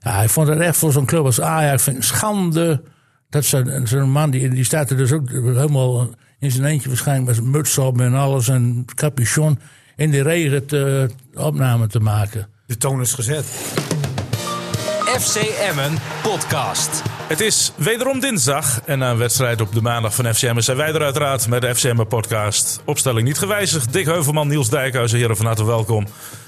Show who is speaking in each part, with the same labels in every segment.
Speaker 1: Ja, ik vond het echt voor zo'n club als Ajax vind ik schande. Dat zo'n zo'n man, die, die staat er dus ook helemaal in zijn eentje waarschijnlijk met zijn muts op en alles en capuchon in de regen te, opname te maken.
Speaker 2: De toon is gezet.
Speaker 3: FC Emmen podcast.
Speaker 4: Het is wederom dinsdag en na een wedstrijd op de maandag van FCM zijn wij er uiteraard met de FCM podcast. Opstelling niet gewijzigd. Dick Heuvelman, Niels Dijkhuizen, heren van harte welkom.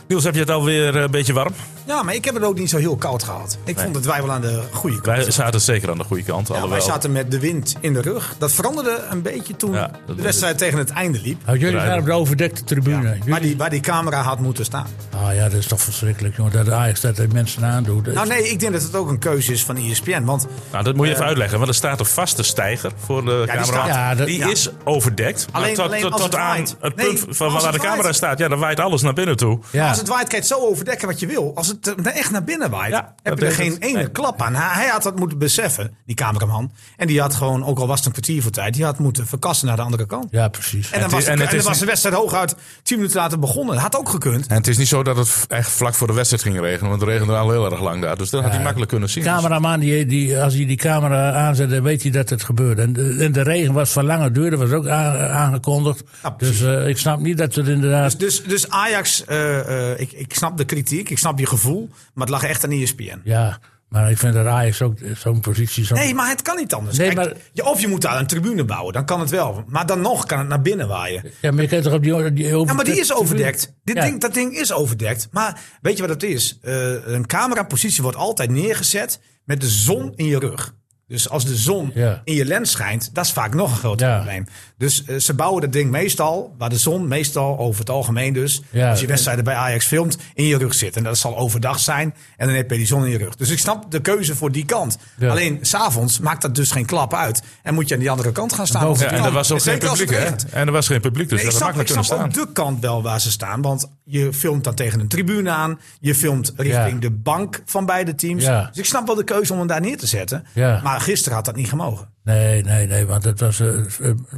Speaker 4: Niels, heb je het alweer eh, een beetje warm?
Speaker 2: Ja, maar ik heb het ook niet zo heel koud gehad. Ik vond het wij wel aan de goede kant.
Speaker 4: Wij zaten zeker aan de goede kant.
Speaker 2: Ja, wij
Speaker 4: alhoewel-
Speaker 2: zaten met de wind in de rug. Dat veranderde een beetje toen
Speaker 4: Ja, dat
Speaker 2: de wedstrijd tegen het einde liep.
Speaker 1: Nou, jullie
Speaker 4: Rijden.
Speaker 1: daar op de overdekte tribune. Jullie-
Speaker 2: Waar die, waar die camera had moeten staan.
Speaker 1: Ah ja, dat is toch verschrikkelijk, jongen. Dat Ajax dat de mensen aandoet.
Speaker 2: Nou nee, ik denk dat het ook een keuze is van E ESPN. Want
Speaker 4: Nou, dat moet je even uitleggen, want er staat een vaste stijger voor de
Speaker 2: die
Speaker 4: camera.
Speaker 2: staat-
Speaker 1: Ja, dat-
Speaker 4: die
Speaker 2: ja.
Speaker 4: is overdekt. Maar
Speaker 2: Alleen-
Speaker 4: tot,
Speaker 2: alleen
Speaker 4: tot-
Speaker 2: als
Speaker 4: tot
Speaker 2: het
Speaker 4: aan
Speaker 2: waait.
Speaker 4: het
Speaker 2: Nee,
Speaker 4: punt van
Speaker 2: als
Speaker 4: waar de
Speaker 2: het
Speaker 4: camera
Speaker 2: waait.
Speaker 4: staat, ja, dan waait alles naar binnen toe.
Speaker 1: ja.
Speaker 2: als het waait, kan je het zo overdekken wat je wil. Als het eh, naar echt naar binnen waait,
Speaker 4: Ja, dat
Speaker 2: heb je er
Speaker 4: deed
Speaker 2: geen
Speaker 4: het.
Speaker 2: ene
Speaker 4: Nee.
Speaker 2: klap aan. Hij, hij had dat moeten beseffen, die cameraman. En die had gewoon, ook al was het een kwartier voor tijd, die had moeten verkassen naar de andere kant.
Speaker 1: ja, precies.
Speaker 2: En
Speaker 4: Het
Speaker 2: dan
Speaker 4: is-
Speaker 2: was, de-
Speaker 4: en
Speaker 2: en
Speaker 4: het
Speaker 2: dan
Speaker 4: is
Speaker 2: was
Speaker 4: een-
Speaker 2: de wedstrijd hooguit tien minuten later begonnen. Had ook gekund.
Speaker 5: En het is niet zo dat het echt vlak voor de wedstrijd ging regenen, want het regende al heel erg lang daar. Dus dat had hij makkelijk kunnen zien.
Speaker 1: De cameraman, die, die, als hij die camera aanzet, dan weet hij dat het gebeurt. En, de- en de regen was van lange duur, dat was ook a- aangekondigd.
Speaker 2: Ja, precies.
Speaker 1: dus eh, ik snap niet dat het inderdaad...
Speaker 2: Dus, dus Ajax, eh, eh, ik, ik snap de kritiek, ik snap je gevoel, maar het lag echt aan E ESPN.
Speaker 1: ja, maar ik vind dat Ajax ook zo'n positie... Zo
Speaker 2: Nee, maar het kan niet anders.
Speaker 1: Nee,
Speaker 2: Kijk,
Speaker 1: maar-
Speaker 2: je- of je moet daar een tribune bouwen, dan kan het wel. Maar dan nog kan het naar binnen waaien.
Speaker 1: Ja, maar je kent toch op die... die over-
Speaker 2: Ja, maar die is overdekt. Dit
Speaker 1: Ja.
Speaker 2: ding, dat ding is overdekt. Maar weet je wat het is? Eh, een camerapositie wordt altijd neergezet met de zon in je rug. Dus als de zon
Speaker 1: Ja.
Speaker 2: in je lens schijnt, dat is vaak nog een groot
Speaker 1: Ja.
Speaker 2: probleem. Dus eh, ze bouwen dat ding meestal, waar de zon meestal over het algemeen dus,
Speaker 1: Ja.
Speaker 2: als je wedstrijden bij Ajax filmt, in je rug zit. En dat zal overdag zijn en dan heb je die zon in je rug. Dus ik snap de keuze voor die kant.
Speaker 1: Ja.
Speaker 2: Alleen s'avonds maakt dat dus geen klap uit. En moet je aan die andere kant gaan staan.
Speaker 4: Ja, en er was ook geen
Speaker 2: Zeker als het
Speaker 4: publiek, hè?
Speaker 2: regent.
Speaker 4: En er was geen publiek, dus
Speaker 2: Nee,
Speaker 4: dat
Speaker 2: ik
Speaker 4: had
Speaker 2: snap, ik
Speaker 4: makkelijk
Speaker 2: snap
Speaker 4: kunnen staan.
Speaker 2: ook de kant wel waar ze staan. Want je filmt dan tegen een tribune aan. Je filmt richting
Speaker 1: Ja.
Speaker 2: de bank van beide teams.
Speaker 1: Ja.
Speaker 2: Dus ik snap wel de keuze om hem daar neer te zetten.
Speaker 1: Ja.
Speaker 2: Maar gisteren had dat niet gemogen.
Speaker 1: Nee, nee, nee, want het was eh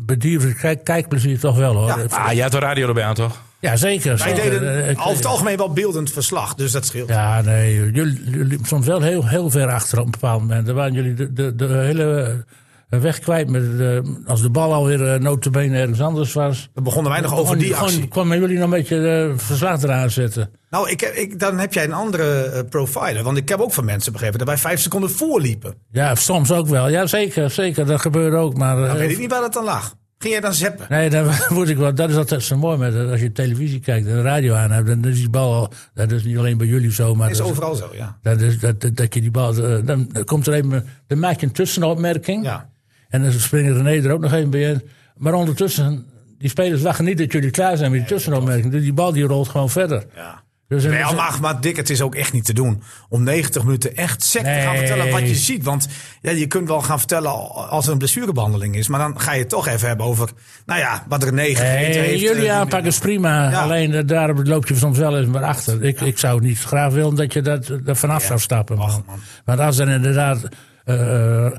Speaker 1: bedierven kijk, kijkplezier toch wel, hoor.
Speaker 2: Ja.
Speaker 1: Ja,
Speaker 4: Ah, je had de radio erbij aan, toch?
Speaker 1: zeker.
Speaker 2: Wij
Speaker 1: zeker.
Speaker 2: deden
Speaker 1: Eh,
Speaker 2: over het algemeen wel beeldend verslag. Dus dat scheelt.
Speaker 1: Ja, nee, jullie, jullie liepen soms wel heel, heel ver achter op een bepaald moment. Dan waren jullie de, de, de hele eh, weg kwijt. Met, de- als de bal alweer eh, notabene ergens anders was.
Speaker 2: Dan begonnen wij nog over
Speaker 1: Gewoon-
Speaker 2: die
Speaker 1: gewoon
Speaker 2: actie.
Speaker 1: kwamen jullie nog een beetje eh, verslag eraan zetten.
Speaker 2: Nou, ik, ik, dan heb jij een andere eh, profiler. Want ik heb ook van mensen begrepen dat wij vijf seconden voorliepen.
Speaker 1: Ja, soms ook wel. Ja, zeker, zeker. Dat gebeurde ook. Maar, eh,
Speaker 2: Dan weet ik niet waar dat dan lag. Ging jij dan zeppen?
Speaker 1: Nee, dan moet ik wel. Dat is altijd zo mooi. Met, eh, als je televisie kijkt en de radio aan hebt, dan is die bal al. Dat is niet alleen bij jullie zo, maar.
Speaker 2: Dat is
Speaker 1: dat is-
Speaker 2: overal zo, ja.
Speaker 1: dat, is, dat, dat, dat je die bal. eh, Dan komt er even. Dan maak je een tussenopmerking.
Speaker 2: ja.
Speaker 1: En dan springen René er ook nog even bij in. Maar ondertussen, die spelers lachen niet dat jullie klaar zijn met die tussenopmerking. Dus die bal die rolt gewoon verder.
Speaker 2: ja.
Speaker 1: Dus
Speaker 2: Nee, al mag, maar Dick, het is ook echt niet te doen. Om 90 minuten echt sec te gaan
Speaker 1: Nee.
Speaker 2: vertellen wat je ziet. Want ja, je kunt wel gaan vertellen als er een blessurebehandeling is. Maar dan ga je het toch even hebben over, nou ja, wat er negen
Speaker 1: Nee,
Speaker 2: heeft.
Speaker 1: jullie
Speaker 2: eh,
Speaker 1: aanpak is prima.
Speaker 2: Ja.
Speaker 1: Alleen eh, daar loop je soms wel eens maar achter. Ik, ik zou het niet graag willen dat je dat, eh, er vanaf zou stappen. Man. Want als er inderdaad eh, eh,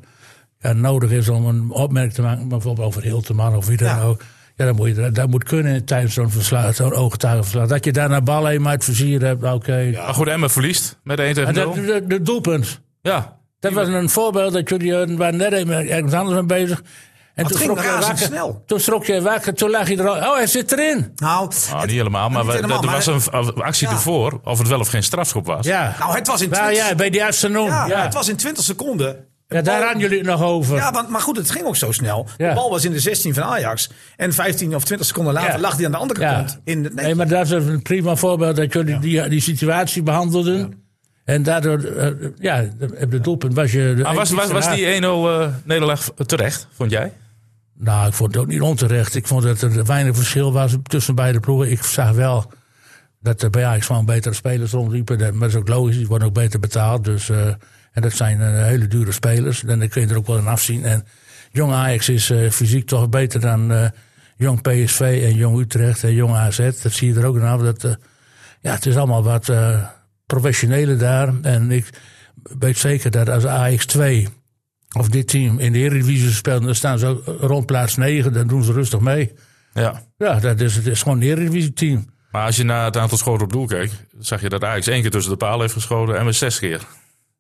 Speaker 1: ja, nodig is om een opmerking te maken, bijvoorbeeld over Hilteman of wie dan
Speaker 2: Ja.
Speaker 1: ook. Ja, dan moet je, dat moet kunnen tijdens zo'n verslag, zo'n ooggetuigenverslag. Dat je daar nou naar bal eenmaal uit vizier hebt, oké.
Speaker 4: Maar goed, Emmen verliest met 1 tegen
Speaker 1: En
Speaker 4: 0.
Speaker 2: Nou.
Speaker 1: dat, de, de doelpunt.
Speaker 4: Ja.
Speaker 1: Dat was een voorbeeld dat jullie eh, waren net even ergens anders mee bezig. En
Speaker 2: het ging
Speaker 1: je
Speaker 2: razendsnel.
Speaker 1: wakker. Toen schrok je wakker, toen lag je er al. Oh, hij zit erin.
Speaker 2: Nou,
Speaker 4: Ah, niet helemaal, maar
Speaker 2: Niet
Speaker 4: we-
Speaker 2: helemaal,
Speaker 4: er
Speaker 2: maar-
Speaker 4: was een v- actie
Speaker 2: Ja.
Speaker 4: ervoor, of het wel of geen strafschop was.
Speaker 1: Ja.
Speaker 2: nou, het was in
Speaker 1: Nou
Speaker 2: 20,
Speaker 1: ja, bij die afternoon.
Speaker 2: ja,
Speaker 1: Ja,
Speaker 2: Het was in 20 seconden.
Speaker 1: ja, daar hadden jullie het nog over.
Speaker 2: Ja, want, maar goed, het ging ook zo snel. De
Speaker 1: Ja.
Speaker 2: bal was in de 16 van Ajax. En 15 of 20 seconden later
Speaker 1: Ja.
Speaker 2: lag die aan de andere
Speaker 1: Ja.
Speaker 2: kant. In het,
Speaker 1: nee,
Speaker 2: nee,
Speaker 1: maar dat is een prima voorbeeld dat jullie die, die situatie behandelden. En daardoor, eh, ja, op het doelpunt was je... de
Speaker 4: Maar was, was,
Speaker 1: enigste
Speaker 4: was
Speaker 1: na-
Speaker 4: die 1-0 eh, nederlaag terecht, vond jij?
Speaker 1: Nou, ik vond het ook niet onterecht. Ik vond dat er weinig verschil was tussen beide ploegen. Ik zag wel dat er bij Ajax gewoon betere spelers rondliepen. Dat- Maar dat is ook logisch, die worden ook beter betaald. Dus, eh, en dat zijn eh, hele dure spelers. En daar kun je er ook wel in afzien. En jong Ajax is eh, fysiek toch beter dan eh, jong PSV en jong Utrecht en jong AZ. Dat zie je er ook in af. Dat, eh, ja, het is allemaal wat eh professioneler daar. En ik weet zeker dat als Ajax 2 of dit team in de Eredivisie speelt... dan staan ze ook rond plaats 9, dan doen ze rustig mee.
Speaker 4: Ja.
Speaker 1: Ja, dat is, het is gewoon een Eredivisie-team.
Speaker 4: Maar als je naar het aantal schoten op doel keek, zag je dat Ajax één keer tussen de paal heeft geschoten en we zes keer.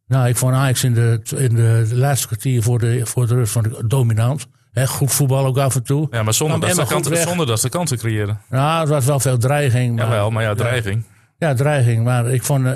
Speaker 1: Nou, ik vond Ajax in de, in de laatste kwartier voor de, voor de rust van de, dominant. Hè, goed voetbal ook af en toe.
Speaker 5: Ja, maar zonder,
Speaker 1: Kwam
Speaker 5: dat
Speaker 1: Nou, Emma
Speaker 5: ze,
Speaker 1: goed
Speaker 5: kanten,
Speaker 1: weg.
Speaker 5: zonder dat ze kansen creëren.
Speaker 1: Nou, het was wel veel dreiging. Maar,
Speaker 5: Jawel, maar ja, drijving.
Speaker 1: Ja, dreiging. Maar ik vond. eh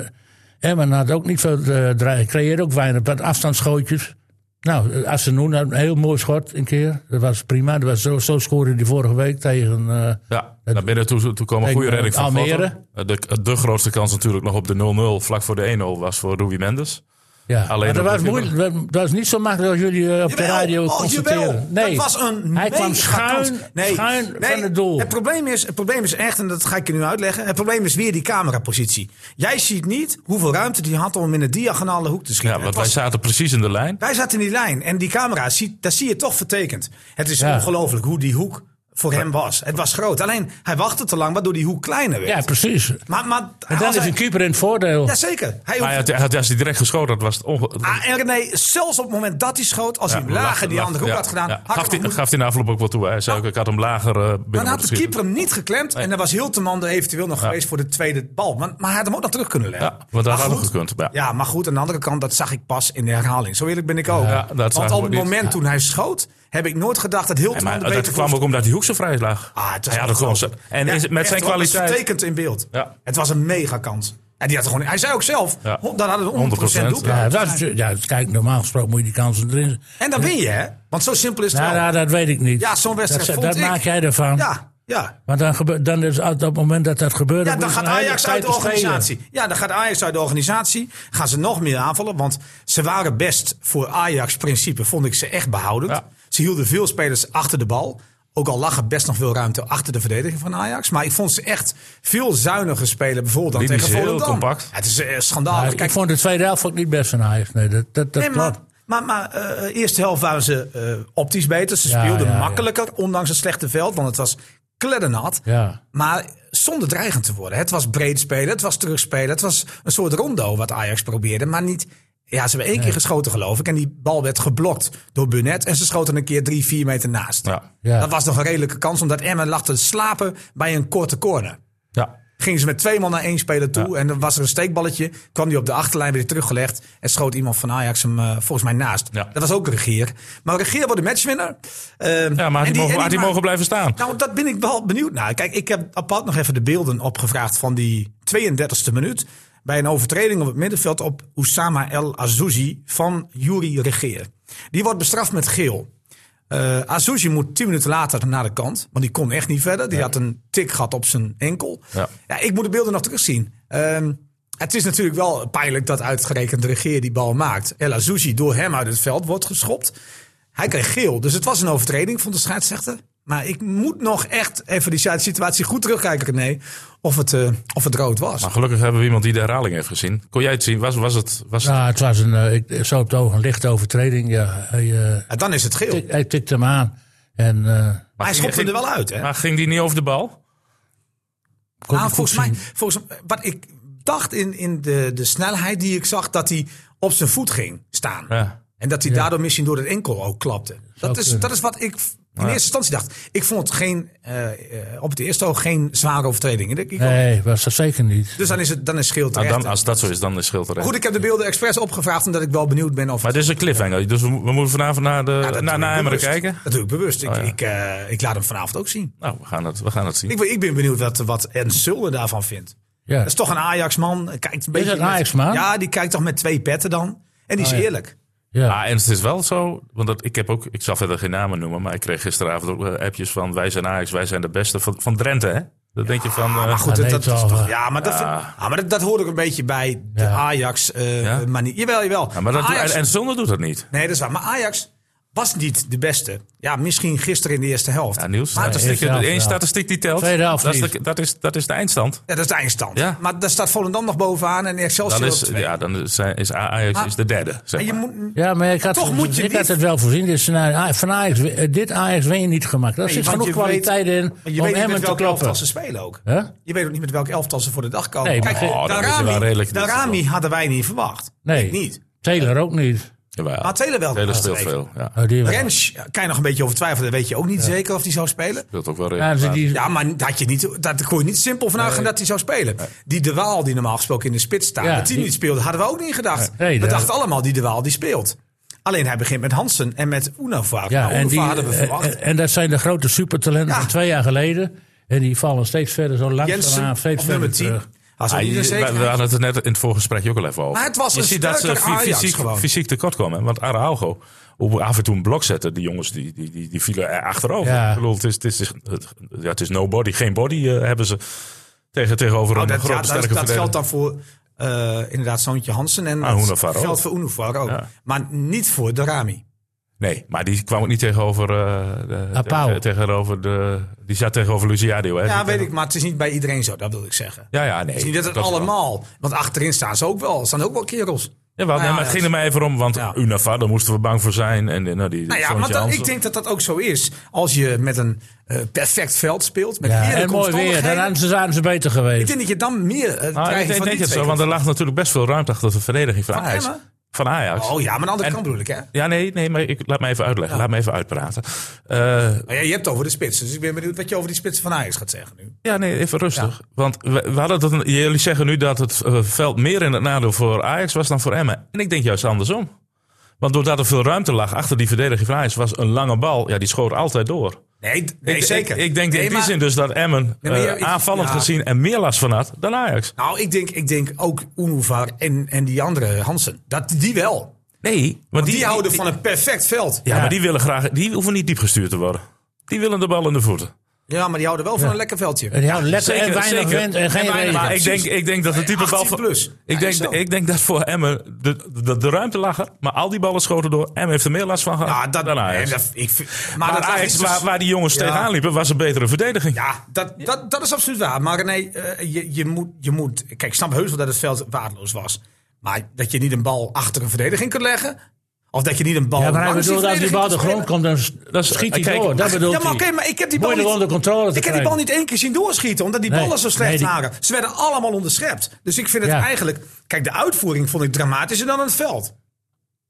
Speaker 1: Emmen had ook niet veel eh, dreiging. Creëerde ook weinig. Wat afstandsschootjes. Nou, Asenoen had een heel mooi schot een keer. Dat was prima. Dat was zo, zo scoorde die vorige week tegen. eh,
Speaker 5: Ja, naar binnen toe, toe kwam een goede
Speaker 2: eh,
Speaker 1: Tegen,
Speaker 5: redding van
Speaker 1: Almere.
Speaker 5: Vatten. De, de grootste kans natuurlijk nog op de 0-0, vlak voor de 1-0, was voor Ruby Mendes.
Speaker 1: ja.
Speaker 5: Alleen
Speaker 1: maar dat
Speaker 5: op
Speaker 1: was,
Speaker 5: de
Speaker 1: moeilijk, dat dat was niet zo makkelijk als jullie eh, op de
Speaker 2: Jawel,
Speaker 1: radio
Speaker 2: oh, jawel.
Speaker 1: constateren. Nee,
Speaker 2: dat was een
Speaker 1: hij kwam
Speaker 2: mega
Speaker 1: schuin,
Speaker 2: kans. nee,
Speaker 1: schuin
Speaker 2: nee,
Speaker 1: van het doel.
Speaker 2: Het probleem, is, het probleem is echt, en dat ga ik je nu uitleggen. Het probleem is weer die camerapositie. Jij ziet niet hoeveel ruimte die had om hem in een diagonale hoek te schieten.
Speaker 5: Ja, want
Speaker 2: Het
Speaker 5: wij
Speaker 2: was-
Speaker 5: zaten precies in de lijn.
Speaker 2: wij zaten in die lijn en die camera, ziet, daar zie je toch vertekend. Het is
Speaker 1: Ja.
Speaker 2: ongelooflijk hoe die hoek voor hem was. Het was groot. Alleen hij wachtte te lang, waardoor die hoek kleiner werd.
Speaker 1: ja, precies.
Speaker 2: maar, maar
Speaker 1: En dan is een keeper in het voordeel.
Speaker 2: Jazeker. Hij
Speaker 5: Maar
Speaker 2: hoeft-
Speaker 5: ja, het- het- als hij direct geschoten had, was het onge...
Speaker 2: Ah, en René, zelfs op het moment dat hij schoot, als hij
Speaker 5: Ja,
Speaker 2: hem lager
Speaker 5: lag-
Speaker 2: die
Speaker 5: lag-
Speaker 2: andere hoek
Speaker 5: ja,
Speaker 2: had gedaan,
Speaker 5: ja.
Speaker 2: had
Speaker 5: Gaf,
Speaker 2: ik
Speaker 5: hij,
Speaker 2: hem
Speaker 5: gaf hij in de afloop ook wel toe. Hij zei ook, ik had hem lager eh,
Speaker 2: Maar
Speaker 5: binnen
Speaker 2: dan had de
Speaker 5: moeten
Speaker 2: keeper hem niet geklemd. En dan was Hilteman er eventueel nog geweest voor de tweede bal. Maar, maar hij had hem ook nog terug kunnen leggen.
Speaker 5: Ja, want dat
Speaker 2: Maar
Speaker 5: had
Speaker 2: goed,
Speaker 5: nog gekund. Ja.
Speaker 2: Ja, maar goed, aan de andere kant, dat zag ik pas in de herhaling. Zo eerlijk ben ik ook.
Speaker 5: Ja, dat zagen
Speaker 2: Want
Speaker 5: we
Speaker 2: op het
Speaker 5: niet.
Speaker 2: moment
Speaker 5: Ja.
Speaker 2: toen hij schoot, heb ik nooit gedacht dat
Speaker 5: schieten.
Speaker 2: Hilteman
Speaker 5: Maar
Speaker 2: de beter
Speaker 5: dat kwam ook omdat die hoek zo vrij lag.
Speaker 2: Ah, het was
Speaker 5: hij had het gewoon zo-
Speaker 2: ongelooflijk.
Speaker 5: En
Speaker 2: Ja,
Speaker 5: is, met
Speaker 2: echt
Speaker 5: zijn
Speaker 2: hoor, dat is
Speaker 5: kwaliteit...
Speaker 2: vertekend in beeld.
Speaker 5: Ja.
Speaker 2: Het was een mega kans. En die had gewoon, hij zei ook zelf,
Speaker 5: Ja.
Speaker 2: ho- dan hadden we 100%,
Speaker 5: 100%
Speaker 2: doelpunt.
Speaker 5: ja.
Speaker 1: Ja, dat is, ja, kijk, normaal gesproken moet je die kansen erin.
Speaker 2: En dan win je, hè? Want zo simpel is het
Speaker 1: Nou,
Speaker 2: wel.
Speaker 1: nou, dat weet ik niet.
Speaker 2: Ja, zo'n wedstrijd
Speaker 1: Dat,
Speaker 2: vond
Speaker 1: dat
Speaker 2: ik.
Speaker 1: maak jij ervan.
Speaker 2: Ja, ja.
Speaker 1: Want dan, gebe- dan is op het moment dat dat gebeurt...
Speaker 2: Ja, dan
Speaker 1: is
Speaker 2: gaat
Speaker 1: een hele
Speaker 2: Ajax
Speaker 1: tijd
Speaker 2: uit de
Speaker 1: te spelen.
Speaker 2: organisatie. Ja, dan gaat Ajax uit de organisatie. Gaan ze nog meer aanvallen. Want ze waren best voor Ajax-principe, vond ik ze echt behoudend.
Speaker 5: Ja.
Speaker 2: Ze hielden veel spelers achter de bal. Ook al lag er best nog veel ruimte achter de verdediging van Ajax. Maar ik vond ze echt veel zuiniger spelen. Bijvoorbeeld dan
Speaker 5: Linies
Speaker 2: tegen
Speaker 5: heel
Speaker 2: Volendam.
Speaker 5: compact.
Speaker 2: Ja, het is eh,
Speaker 1: Maar
Speaker 2: schandalig.
Speaker 1: ik
Speaker 2: Kijk,
Speaker 1: vond de tweede helft ook niet best van Ajax. Nee, dat, dat, dat
Speaker 2: nee, maar,
Speaker 1: klopt.
Speaker 2: maar, maar eh, eerste helft waren ze eh, optisch beter. Ze
Speaker 1: Ja,
Speaker 2: speelden
Speaker 1: ja, ja.
Speaker 2: makkelijker, ondanks het slechte veld. Want het was kleddernat.
Speaker 1: Ja.
Speaker 2: Maar zonder dreigend te worden. Het was breed spelen, het was terugspelen. Het was een soort rondo wat Ajax probeerde. Maar niet. Ja, ze hebben één keer geschoten, geloof ik. En die bal werd geblokt door Burnett. En ze schoten een keer drie, vier meter naast.
Speaker 5: Ja.
Speaker 1: Ja.
Speaker 2: Dat was nog een redelijke kans, omdat Emmen lag te slapen bij een korte corner.
Speaker 5: Ja.
Speaker 2: Gingen ze met twee man naar één speler toe. En dan was er een steekballetje. Kwam die op de achterlijn weer teruggelegd. En schoot iemand van Ajax hem eh, volgens mij naast.
Speaker 5: Ja.
Speaker 2: Dat was ook Regeer. Maar Regeer wordt de matchwinner. Ehm,
Speaker 5: ja, maar
Speaker 2: en
Speaker 5: had hij
Speaker 2: die-
Speaker 5: mogen,
Speaker 2: en
Speaker 5: had hij
Speaker 2: ma-
Speaker 5: mogen blijven staan.
Speaker 2: nou, dat ben ik wel benieuwd naar. Kijk, ik heb apart nog even de beelden opgevraagd van die 32e minuut. Bij een overtreding op het middenveld op Oussama El Azouzi van Yuri Regeer. Die wordt bestraft met geel. Eh Azouzi moet 10 minuten later naar de kant. Want die kon echt niet verder. Die had een tik gehad op zijn enkel. Ja.
Speaker 5: Ja.
Speaker 2: ik moet de beelden nog terugzien. Ehm, het is natuurlijk wel pijnlijk dat uitgerekend Regeer die bal maakt. El Azouzi door hem uit het veld wordt geschopt. Hij kreeg geel. Dus het was een overtreding, vond de scheidsrechter. Maar ik moet nog echt even die situatie goed terugkijken, René. Of het, eh, of het rood was.
Speaker 5: Maar Nou, gelukkig hebben we iemand die de herhaling heeft gezien. Kon jij het zien? Was, was het... Was
Speaker 1: Nou, het was een, eh, ik, zo op het oog een lichte overtreding. Ja. Hij, eh,
Speaker 2: En dan is het geel.
Speaker 1: tik- hij tikte hem aan. En eh,
Speaker 2: Maar hij
Speaker 5: ging-
Speaker 2: schopte
Speaker 5: ging-
Speaker 2: er wel uit, hè?
Speaker 5: Maar ging die niet over de bal?
Speaker 1: kon
Speaker 2: Ah,
Speaker 1: ik goed
Speaker 2: volgens mij,
Speaker 1: zien.
Speaker 2: volgens mij, wat ik dacht in, in de, de snelheid die ik zag, dat hij op zijn voet ging staan.
Speaker 5: Ja.
Speaker 2: En dat hij daardoor misschien door het enkel ook klapte. Dat is,
Speaker 1: kunnen.
Speaker 2: dat is wat ik v- in eerste instantie dacht. Ik vond het geen, eh, eh, op het eerste oog geen zware overtreding. Ik- ik-
Speaker 1: Nee, was dat zeker niet.
Speaker 2: Dus dan is het dan is geel
Speaker 5: Nou,
Speaker 2: terecht.
Speaker 5: dan, als dat zo is, dan is Schild terecht.
Speaker 2: Goed, ik heb de beelden expres opgevraagd omdat ik wel benieuwd ben of
Speaker 5: Maar dit is een cliffhanger. Dus we, mo- we moeten vanavond naar, de,
Speaker 2: Ja, dat
Speaker 5: naar,
Speaker 2: doe
Speaker 5: naar
Speaker 2: ik
Speaker 5: Emmeren
Speaker 2: bewust.
Speaker 5: kijken.
Speaker 2: Dat doe ik bewust. Ik,
Speaker 5: ja.
Speaker 2: ik, eh, ik laat hem vanavond ook zien.
Speaker 5: Nou, we gaan het, we gaan het zien.
Speaker 2: Ik, ben- ik ben benieuwd wat, wat Ernst Zullen daarvan vindt.
Speaker 1: Ja.
Speaker 2: Dat is toch een Ajax-man. Kijkt een beetje
Speaker 1: dat een
Speaker 2: met-
Speaker 1: Ajax-man?
Speaker 2: Ja, die kijkt toch met twee petten dan. En die is
Speaker 1: Oh, ja.
Speaker 2: eerlijk.
Speaker 1: ja.
Speaker 5: Ah, en het is wel zo, want dat, ik heb ook, ik zal verder geen namen noemen, maar ik kreeg gisteravond ook eh, appjes van wij zijn Ajax, wij zijn de beste van, van Drenthe, hè? Dat denk je van, eh,
Speaker 2: Maar goed,
Speaker 1: Ja,
Speaker 2: dat,
Speaker 1: nee,
Speaker 2: dat
Speaker 1: het
Speaker 2: is
Speaker 1: zal
Speaker 2: toch-
Speaker 1: wel.
Speaker 2: ja, maar, dat, vind- ah, maar dat, dat hoort ook een beetje bij de
Speaker 1: Ja.
Speaker 2: Ajax eh
Speaker 5: Ja?
Speaker 2: manier. Jawel, jawel.
Speaker 5: ja, maar dat,
Speaker 2: Ajax,
Speaker 5: en, en Zonne doet dat niet.
Speaker 2: nee, dat is waar. Maar Ajax was niet de beste. Ja, misschien gisteren in de eerste helft.
Speaker 5: Ja, Niels,
Speaker 2: Maar,
Speaker 5: statistieken-
Speaker 1: eerste helft
Speaker 5: de één
Speaker 1: wel.
Speaker 5: statistiek die telt,
Speaker 1: Tweede helft
Speaker 5: dat, is
Speaker 1: niet.
Speaker 5: de, dat, is, dat is de eindstand.
Speaker 2: ja, dat is de eindstand.
Speaker 5: Ja.
Speaker 2: Maar daar staat Volendam nog bovenaan en
Speaker 5: Dan
Speaker 2: Excelsior op
Speaker 5: is,
Speaker 2: twee.
Speaker 5: ja, dan is, is Ajax
Speaker 2: Maar-
Speaker 5: is de derde,
Speaker 2: En
Speaker 5: zeg
Speaker 2: je
Speaker 5: maar.
Speaker 2: moet,
Speaker 1: Ja, maar ik had,
Speaker 2: Toch moet je
Speaker 1: ik had
Speaker 2: niet-
Speaker 1: het wel voorzien. Dit scenario, Ah, van Ajax, dit Ajax win je niet gemaakt. Daar
Speaker 2: Nee,
Speaker 1: zit
Speaker 2: want
Speaker 1: genoeg
Speaker 2: je weet-
Speaker 1: kwaliteit
Speaker 2: Maar
Speaker 1: in
Speaker 2: je
Speaker 1: om
Speaker 2: weet niet
Speaker 1: Emmen
Speaker 2: met
Speaker 1: te
Speaker 2: welke elftal
Speaker 1: kloppen.
Speaker 2: ze spelen ook.
Speaker 1: Huh?
Speaker 2: Je weet ook niet met welke elftal ze voor de dag komen.
Speaker 1: Nee,
Speaker 2: Kijk,
Speaker 1: maar-
Speaker 5: Oh, dat is wel
Speaker 2: Darami,
Speaker 5: redelijk
Speaker 2: Darami hadden wij niet verwacht.
Speaker 1: Nee.
Speaker 2: Ik niet.
Speaker 1: Taylor ook niet.
Speaker 5: Jawel.
Speaker 2: Maar Taylor wel.
Speaker 5: Taylor
Speaker 2: Ah,
Speaker 5: speelt
Speaker 2: twee.
Speaker 5: veel. Ja.
Speaker 1: Oh, die wel.
Speaker 2: Rens ja, eh, kan je nog een beetje over twijfelen. Dat weet je ook niet zeker of die zou spelen.
Speaker 5: Speelt ook wel
Speaker 1: Ja,
Speaker 5: regelmatig.
Speaker 1: ze- die,
Speaker 2: Ja, maar dat, had je niet, dat kon je niet simpel vanuit gaan dat hij zou spelen. Die De Waal die normaal gesproken in de spits staat.
Speaker 1: Ja,
Speaker 2: dat die,
Speaker 1: die-
Speaker 2: niet speelde, hadden we ook niet gedacht.
Speaker 1: Nee,
Speaker 2: we
Speaker 1: dat-
Speaker 2: dachten allemaal die De Waal die speelt. Alleen hij begint met Hansen en met Unavaar.
Speaker 1: ja,
Speaker 2: nou,
Speaker 1: en, die, eh,
Speaker 2: Unavaar hadden we verwacht.
Speaker 1: en, en dat zijn de grote supertalenten
Speaker 2: Ja.
Speaker 1: van twee jaar geleden. En die vallen steeds verder zo langzaam
Speaker 2: Jensen
Speaker 1: aan, steeds
Speaker 2: op nummer
Speaker 1: verder
Speaker 2: 10.
Speaker 1: terug.
Speaker 2: Als we
Speaker 5: Ah,
Speaker 2: niet
Speaker 5: je-
Speaker 2: een
Speaker 5: we,
Speaker 2: zekerheid-
Speaker 5: we hadden het er net in het voorgesprekje ook al even over.
Speaker 2: Maar het was
Speaker 5: je
Speaker 2: een
Speaker 5: ziet dat ze
Speaker 2: sterker
Speaker 5: fy-
Speaker 2: Ajax
Speaker 5: fysiek,
Speaker 2: gewoon.
Speaker 5: fysiek tekort komen. Want Araujo, op af en toe een blok zetten, die jongens die, die, die, die vielen er achterover.
Speaker 1: Ja.
Speaker 5: Ik bedoel, het is, het, is, het- ja, het is no body, geen body eh, hebben ze tegen, tegenover
Speaker 2: Nou,
Speaker 5: een
Speaker 2: dat,
Speaker 5: grote
Speaker 2: ja, dat-
Speaker 5: sterke
Speaker 2: dat geldt
Speaker 5: verdediger.
Speaker 2: dan voor eh, inderdaad Zoontje Hansen. En
Speaker 5: Ah,
Speaker 2: dat
Speaker 5: Unavaar ook.
Speaker 2: geldt voor Unavaar ook.
Speaker 5: Ja.
Speaker 2: Maar niet voor de Rami.
Speaker 5: Nee, maar die kwam ook niet tegenover. eh, de-
Speaker 1: Apau.
Speaker 5: tegen- tegenover de, die zat tegenover Luciadio. Hè?
Speaker 2: Ah, Ja,
Speaker 5: Die-
Speaker 2: weet ik, maar het is niet bij iedereen zo, dat wil ik zeggen.
Speaker 5: Ja, ja, nee.
Speaker 2: Het is niet dat het
Speaker 5: is wel-
Speaker 2: allemaal, want achterin staan ze ook wel, staan ook wel kerels.
Speaker 5: Jawel, nee,
Speaker 2: Nou ja,
Speaker 5: maar het ging
Speaker 2: ja.
Speaker 5: er maar even om, want
Speaker 2: Ja.
Speaker 5: Unava, daar moesten we bang voor zijn. En, eh, nou, die,
Speaker 2: Nou ja,
Speaker 5: Zoontje
Speaker 2: want dat-
Speaker 5: Hansen.
Speaker 2: ik denk dat dat ook zo is. Als je met een eh, perfect veld speelt, met
Speaker 1: Ja, en
Speaker 2: heerlijke
Speaker 1: mooi weer,
Speaker 2: omstandigheden,
Speaker 1: dan zijn ze beter
Speaker 2: Ik
Speaker 1: geweest.
Speaker 2: denk dat je dan meer eh
Speaker 5: Nou, ik
Speaker 2: krijgt van
Speaker 5: denk, denk
Speaker 2: die
Speaker 5: het
Speaker 2: twee.
Speaker 5: zo, want er lag natuurlijk best veel ruimte achter de verdediging van,
Speaker 2: Van
Speaker 5: Ajax.
Speaker 2: Emmen?
Speaker 5: Van Ajax.
Speaker 2: Oh ja, maar aan de andere
Speaker 5: En-
Speaker 2: kant bedoel ik, hè?
Speaker 5: Ja, nee, nee, maar ik, laat me even uitleggen. Laat me even uitpraten. Eh,
Speaker 2: Maar ja, je hebt het over de spitsen, dus ik ben benieuwd wat je over die spitsen van Ajax gaat zeggen nu.
Speaker 5: ja, nee, even rustig. Want we, we hadden dat een- jullie zeggen nu dat het eh, veld meer in het nadeel voor Ajax was dan voor Emmen. En ik denk juist andersom. Want doordat er veel ruimte lag achter die verdediging van Ajax, was een lange bal, ja, die schoot altijd door.
Speaker 2: Nee, d- nee
Speaker 5: ik,
Speaker 2: zeker.
Speaker 5: Ik, ik denk
Speaker 2: Nee,
Speaker 5: in die
Speaker 2: maar-
Speaker 5: zin dus dat Emmen
Speaker 2: Ja, maar je-
Speaker 5: eh,
Speaker 2: ik-
Speaker 5: aanvallend
Speaker 2: ja.
Speaker 5: gezien en meer last van had dan Ajax.
Speaker 2: Nou, ik denk, ik denk ook Unuvar en, en die andere Hansen. Dat, die wel. Want
Speaker 5: Nee, want,
Speaker 2: die, houden van een perfect veld.
Speaker 5: Ja, maar die willen graag. Die hoeven niet diep gestuurd te worden. Die willen de bal in de voeten.
Speaker 2: Ja, maar die houden wel van een lekker veldje.
Speaker 1: En die houden lekker en weinig wind en geen regen.
Speaker 5: Maar ik denk,
Speaker 2: precies.
Speaker 5: ik denk dat het type
Speaker 2: 18
Speaker 5: bal. van-
Speaker 2: plus.
Speaker 5: Ik,
Speaker 2: Ja,
Speaker 5: denk,
Speaker 2: is zo.
Speaker 5: ik denk dat voor Emmen de, de, de ruimte lag er, Maar al die ballen schoten door. Emmen heeft er meer last van gehad
Speaker 2: Ja, Ah, dat,
Speaker 5: dan
Speaker 2: nee,
Speaker 5: Ajax.
Speaker 2: dat- ik vind-
Speaker 5: maar
Speaker 2: maar dat
Speaker 5: Ajax,
Speaker 2: is dus-
Speaker 5: waar, waar die jongens
Speaker 2: Ja.
Speaker 5: tegenaan liepen, was een betere verdediging.
Speaker 2: Ja, dat, dat, dat is absoluut waar. Maar nee, je, je, moet, je moet. Kijk, ik snap heus wel dat het veld waardeloos was. Maar dat je niet een bal achter een verdediging kunt leggen. Of dat je niet een bal.
Speaker 1: Ja, maar hij
Speaker 2: langs
Speaker 1: bedoelt als die
Speaker 2: verdediging
Speaker 1: bal de
Speaker 2: kunt
Speaker 1: grond
Speaker 2: spelen.
Speaker 1: komt, dan s- dan schiet hij
Speaker 5: kijk,
Speaker 1: door. Dat bedoelt
Speaker 2: Ja, maar
Speaker 1: hij.
Speaker 2: oké, maar ik heb die bal.
Speaker 1: Moeilijk
Speaker 2: Niet,
Speaker 1: onder controle te
Speaker 2: ik heb die bal
Speaker 1: krijgen.
Speaker 2: niet één keer zien doorschieten. Omdat die
Speaker 1: Nee,
Speaker 2: ballen zo slecht
Speaker 1: nee, die-
Speaker 2: waren. Ze werden allemaal onderschept. Dus ik vind het
Speaker 1: Ja.
Speaker 2: eigenlijk. Kijk, de uitvoering vond ik dramatischer dan het veld.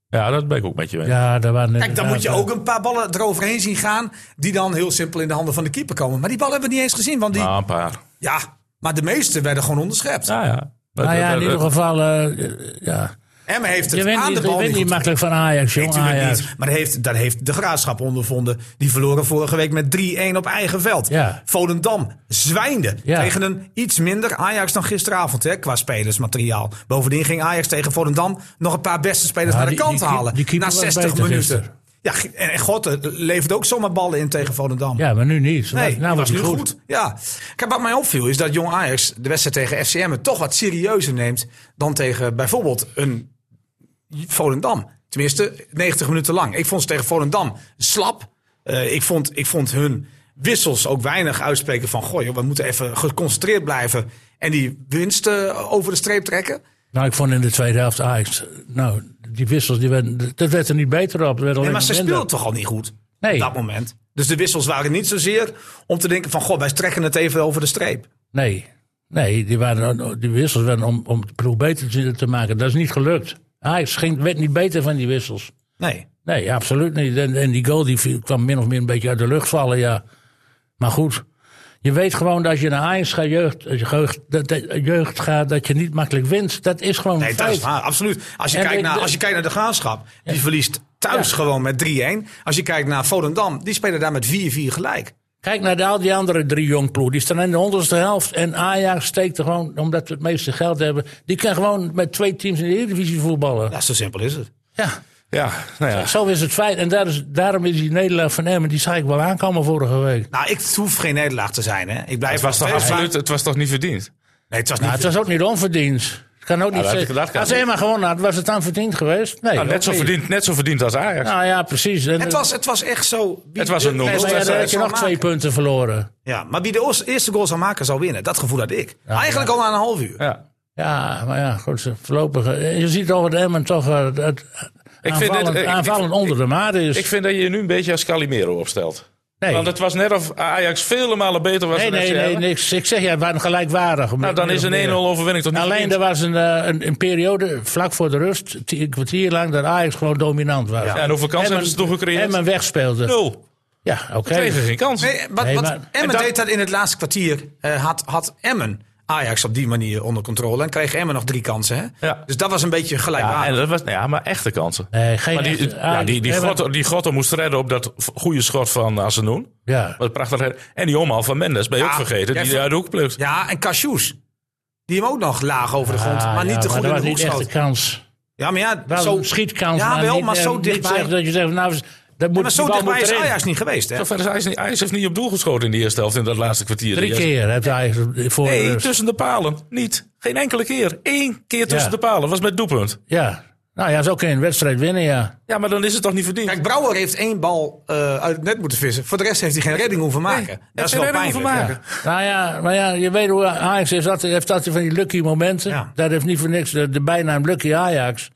Speaker 5: Ja, dat ben ik ook met je. Ja.
Speaker 1: Ja, daar waren
Speaker 2: Kijk, dan moet je
Speaker 1: inderdaad,
Speaker 2: ook een paar ballen eroverheen zien gaan. Die dan heel simpel in de handen van de keeper komen. Maar die ballen hebben we niet eens gezien. Want die.
Speaker 5: Nou, een paar.
Speaker 2: Ja, maar de meeste werden gewoon onderschept.
Speaker 5: Ja, ja.
Speaker 1: eh, Nou ja, in ieder
Speaker 5: Dat-
Speaker 1: geval, eh, ja.
Speaker 2: Emma heeft het
Speaker 1: Je wint
Speaker 2: aan
Speaker 1: niet,
Speaker 2: de
Speaker 1: je
Speaker 2: bal
Speaker 1: wint niet
Speaker 2: niet
Speaker 1: Ah,
Speaker 2: goed.
Speaker 1: makkelijk van Ajax,
Speaker 2: Nee,
Speaker 1: jong
Speaker 2: tuurlijk
Speaker 1: Ajax.
Speaker 2: niet. Maar dat heeft, dat heeft de graafschap ondervonden. Die verloren vorige week met 3-1 op eigen veld.
Speaker 1: Ja.
Speaker 2: Volendam zwijnde
Speaker 1: Ja.
Speaker 2: tegen een iets minder Ajax dan gisteravond hè, qua spelersmateriaal. Bovendien ging Ajax tegen Volendam nog een paar beste spelers
Speaker 1: Ja,
Speaker 2: naar de
Speaker 1: die-
Speaker 2: kant
Speaker 1: die-
Speaker 2: halen.
Speaker 1: die keeper
Speaker 2: na
Speaker 1: was
Speaker 2: 60
Speaker 1: beter
Speaker 2: minuten.
Speaker 1: gisteren.
Speaker 2: Ja, g- en, en God eh, levert ook zomaar ballen in tegen Volendam.
Speaker 1: Ja, maar nu niet. Ze
Speaker 2: Nee,
Speaker 1: was- nou
Speaker 2: die was
Speaker 1: was hij
Speaker 2: nu
Speaker 1: goed.
Speaker 2: goed. Ja. Kijk, wat mij opviel is dat Jong Ajax de wedstrijd tegen FCM het toch wat serieuzer neemt dan tegen bijvoorbeeld een Volendam. Tenminste, 90 minuten lang. Ik vond ze tegen Volendam slap. Eh, ik, vond, ik vond hun wissels ook weinig uitspreken van... goh, joh, we moeten even geconcentreerd blijven en die winst eh, over de streep trekken.
Speaker 1: Nou, ik vond in de tweede helft Ajax. Nou, die wissels, die werden, dat werd er niet beter op. Dat werd alleen
Speaker 2: Nee, maar ze
Speaker 1: maar minder.
Speaker 2: speelden toch al niet goed
Speaker 1: Nee.
Speaker 2: op dat moment. Dus de wissels waren niet zozeer om te denken van... goh, wij trekken het even over de streep.
Speaker 1: Nee, nee die, waren, die wissels werden om, om de ploeg beter te- te maken. Dat is niet gelukt. Ajax ging, werd niet beter van die wissels.
Speaker 2: Nee.
Speaker 1: Nee, absoluut niet. En, en die goal die viel- kwam min of meer een beetje uit de lucht vallen, ja. Maar goed, je weet gewoon dat als je naar Ajax gaat, jeugd, eh, jeugd, dat- dat- jeugd gaat, dat je niet makkelijk wint. Dat is gewoon een
Speaker 2: Nee, dat
Speaker 1: feit.
Speaker 2: is waar, absoluut. Als je,
Speaker 1: En
Speaker 2: kijkt
Speaker 1: de-
Speaker 2: naar,
Speaker 1: de-
Speaker 2: als je kijkt naar de graafschap, die verliest thuis
Speaker 1: Ja.
Speaker 2: gewoon met 3-1. Als je kijkt naar Volendam, die spelen daar met 4-4 gelijk.
Speaker 1: Kijk naar de- al die andere drie jongploegen. Die staan in de honderdste helft. En Ajax steekt er gewoon, omdat we het meeste geld hebben. Die kan gewoon met twee teams in de Eredivisie voetballen.
Speaker 2: Ja, zo simpel is het.
Speaker 1: Ja,
Speaker 5: Ja, nou ja.
Speaker 1: zo is het feit. En daar is, daarom is die Nederlaag van Emmen, die zag ik wel aankomen vorige week.
Speaker 2: Nou, ik het hoeft geen nederlaag te zijn, hè. Ik blijf
Speaker 5: Het was, toch
Speaker 2: wel
Speaker 5: absoluut, het was toch niet verdiend?
Speaker 2: Nee, het was niet...
Speaker 1: Nou, het was ook niet onverdiend. Het kan ook niet
Speaker 5: dat-
Speaker 1: zeggen.
Speaker 5: dat kan
Speaker 1: Als
Speaker 5: niet.
Speaker 1: Emma gewonnen had, was het dan verdiend geweest? Nee,
Speaker 5: Nou,
Speaker 1: ook
Speaker 5: net, zo
Speaker 1: niet.
Speaker 5: verdiend, net zo verdiend als Ajax.
Speaker 1: Nou ja, precies. En,
Speaker 2: het, was, het was echt zo... wie
Speaker 5: Het was
Speaker 2: de
Speaker 5: een nul.
Speaker 1: en
Speaker 2: eerste
Speaker 1: dan
Speaker 5: was-
Speaker 1: had
Speaker 2: goal
Speaker 1: je
Speaker 2: zou
Speaker 1: nog twee
Speaker 2: maken.
Speaker 1: punten verloren.
Speaker 2: Ja, maar wie de oors- eerste goal zou maken, zou winnen. Dat gevoel had ik. Eigenlijk al na een half uur.
Speaker 5: ja.
Speaker 1: Ja, maar ja, goed, ze- voorlopig. eh, Je ziet toch dat Emmen toch eh, dat
Speaker 5: dit,
Speaker 1: aanvallend,
Speaker 5: eh, ik-
Speaker 1: aanvallend
Speaker 5: ik-
Speaker 1: onder de maat is.
Speaker 5: Ik vind dat je je nu een beetje als Calimero opstelt.
Speaker 1: Nee.
Speaker 5: Want het was net of Ajax vele malen beter was
Speaker 1: Nee,
Speaker 5: dan
Speaker 1: nee,
Speaker 5: FCM.
Speaker 1: nee, niks. Ik zeg ja, het waren gelijkwaardig.
Speaker 5: Nou, dan is een 1-0 overwinning toch niet
Speaker 1: Nou, Alleen er
Speaker 5: verdiend?
Speaker 1: was een, eh, een, een periode vlak voor de rust, ti- een kwartier lang, dat Ajax gewoon dominant was.
Speaker 5: Ja, en hoeveel kansen hebben ze toch gecreëerd?
Speaker 1: En men wegspeelde.
Speaker 5: Nul.
Speaker 1: Ja, oké.
Speaker 5: Kregen geen kans.
Speaker 2: Nee, wat,
Speaker 1: Nee,
Speaker 2: wat
Speaker 1: maar-
Speaker 2: Emmen
Speaker 1: en dat-
Speaker 2: deed dat in het laatste kwartier. eh, had, had Emmen Ajax op die manier onder controle. En kreeg Emmen nog drie kansen. Hè?
Speaker 5: Ja.
Speaker 2: Dus dat was een beetje
Speaker 5: Ja,
Speaker 2: gelijkwaardig.
Speaker 5: en dat was, ja, maar echte kansen.
Speaker 1: Nee, geen
Speaker 5: Maar die,
Speaker 1: echte- Ah,
Speaker 5: ja, die, die,
Speaker 1: Emmen-
Speaker 5: Grotto, die Grotto moest redden op dat v- goede schot van Asenoen.
Speaker 1: Ja.
Speaker 5: Wat een prachtig redden. En die omhaal van Mendes, ben je
Speaker 2: Ja,
Speaker 5: ook vergeten,
Speaker 2: jij
Speaker 5: die
Speaker 2: ver-
Speaker 5: uit de hoek plukt.
Speaker 2: Ja, en Cashews. Die hem ook nog laag over de grond.
Speaker 1: Ah,
Speaker 2: maar niet
Speaker 1: ja,
Speaker 2: te goed
Speaker 1: dat
Speaker 2: in
Speaker 1: was
Speaker 2: de hoek
Speaker 1: niet echt
Speaker 2: schoot.
Speaker 1: een kans.
Speaker 2: Ja, maar ja,
Speaker 1: Wel
Speaker 2: zo,
Speaker 1: een schietkans.
Speaker 2: Ja, wel,
Speaker 1: niet,
Speaker 2: maar
Speaker 1: eh,
Speaker 2: zo
Speaker 1: niet
Speaker 2: dichtbij.
Speaker 1: zeggen dat je zegt, nou, dat moet,
Speaker 2: maar zo
Speaker 1: die bal
Speaker 2: dichtbij
Speaker 1: moet
Speaker 2: is
Speaker 1: erin.
Speaker 2: Ajax niet geweest. Hè?
Speaker 5: Zover is Ajax niet, Ajax heeft niet op doel geschoten in de eerste helft in dat laatste kwartier.
Speaker 1: Drie
Speaker 5: Jij-
Speaker 1: keer heeft Ajax voor de
Speaker 5: Nee,
Speaker 1: rust.
Speaker 5: tussen de palen. Niet. Geen enkele keer. Eén keer tussen
Speaker 1: Ja.
Speaker 5: de palen. Was met doelpunt.
Speaker 1: Ja. Nou ja, zo kun je een wedstrijd winnen, ja.
Speaker 5: Ja, maar dan is het toch niet verdiend?
Speaker 2: Kijk, Brouwer heeft één bal eh, uit het net moeten vissen. Voor de rest heeft hij geen redding hoeven maken. dat
Speaker 5: heeft
Speaker 2: is
Speaker 5: geen
Speaker 2: wel
Speaker 5: redding
Speaker 2: pijnlijk. ja.
Speaker 5: hoeven maken.
Speaker 1: Nou ja, maar ja, je weet hoe Ajax is. Dat, heeft altijd van die lucky momenten.
Speaker 2: Ja.
Speaker 1: Dat heeft niet voor niks de, de bijnaam Lucky Ajax.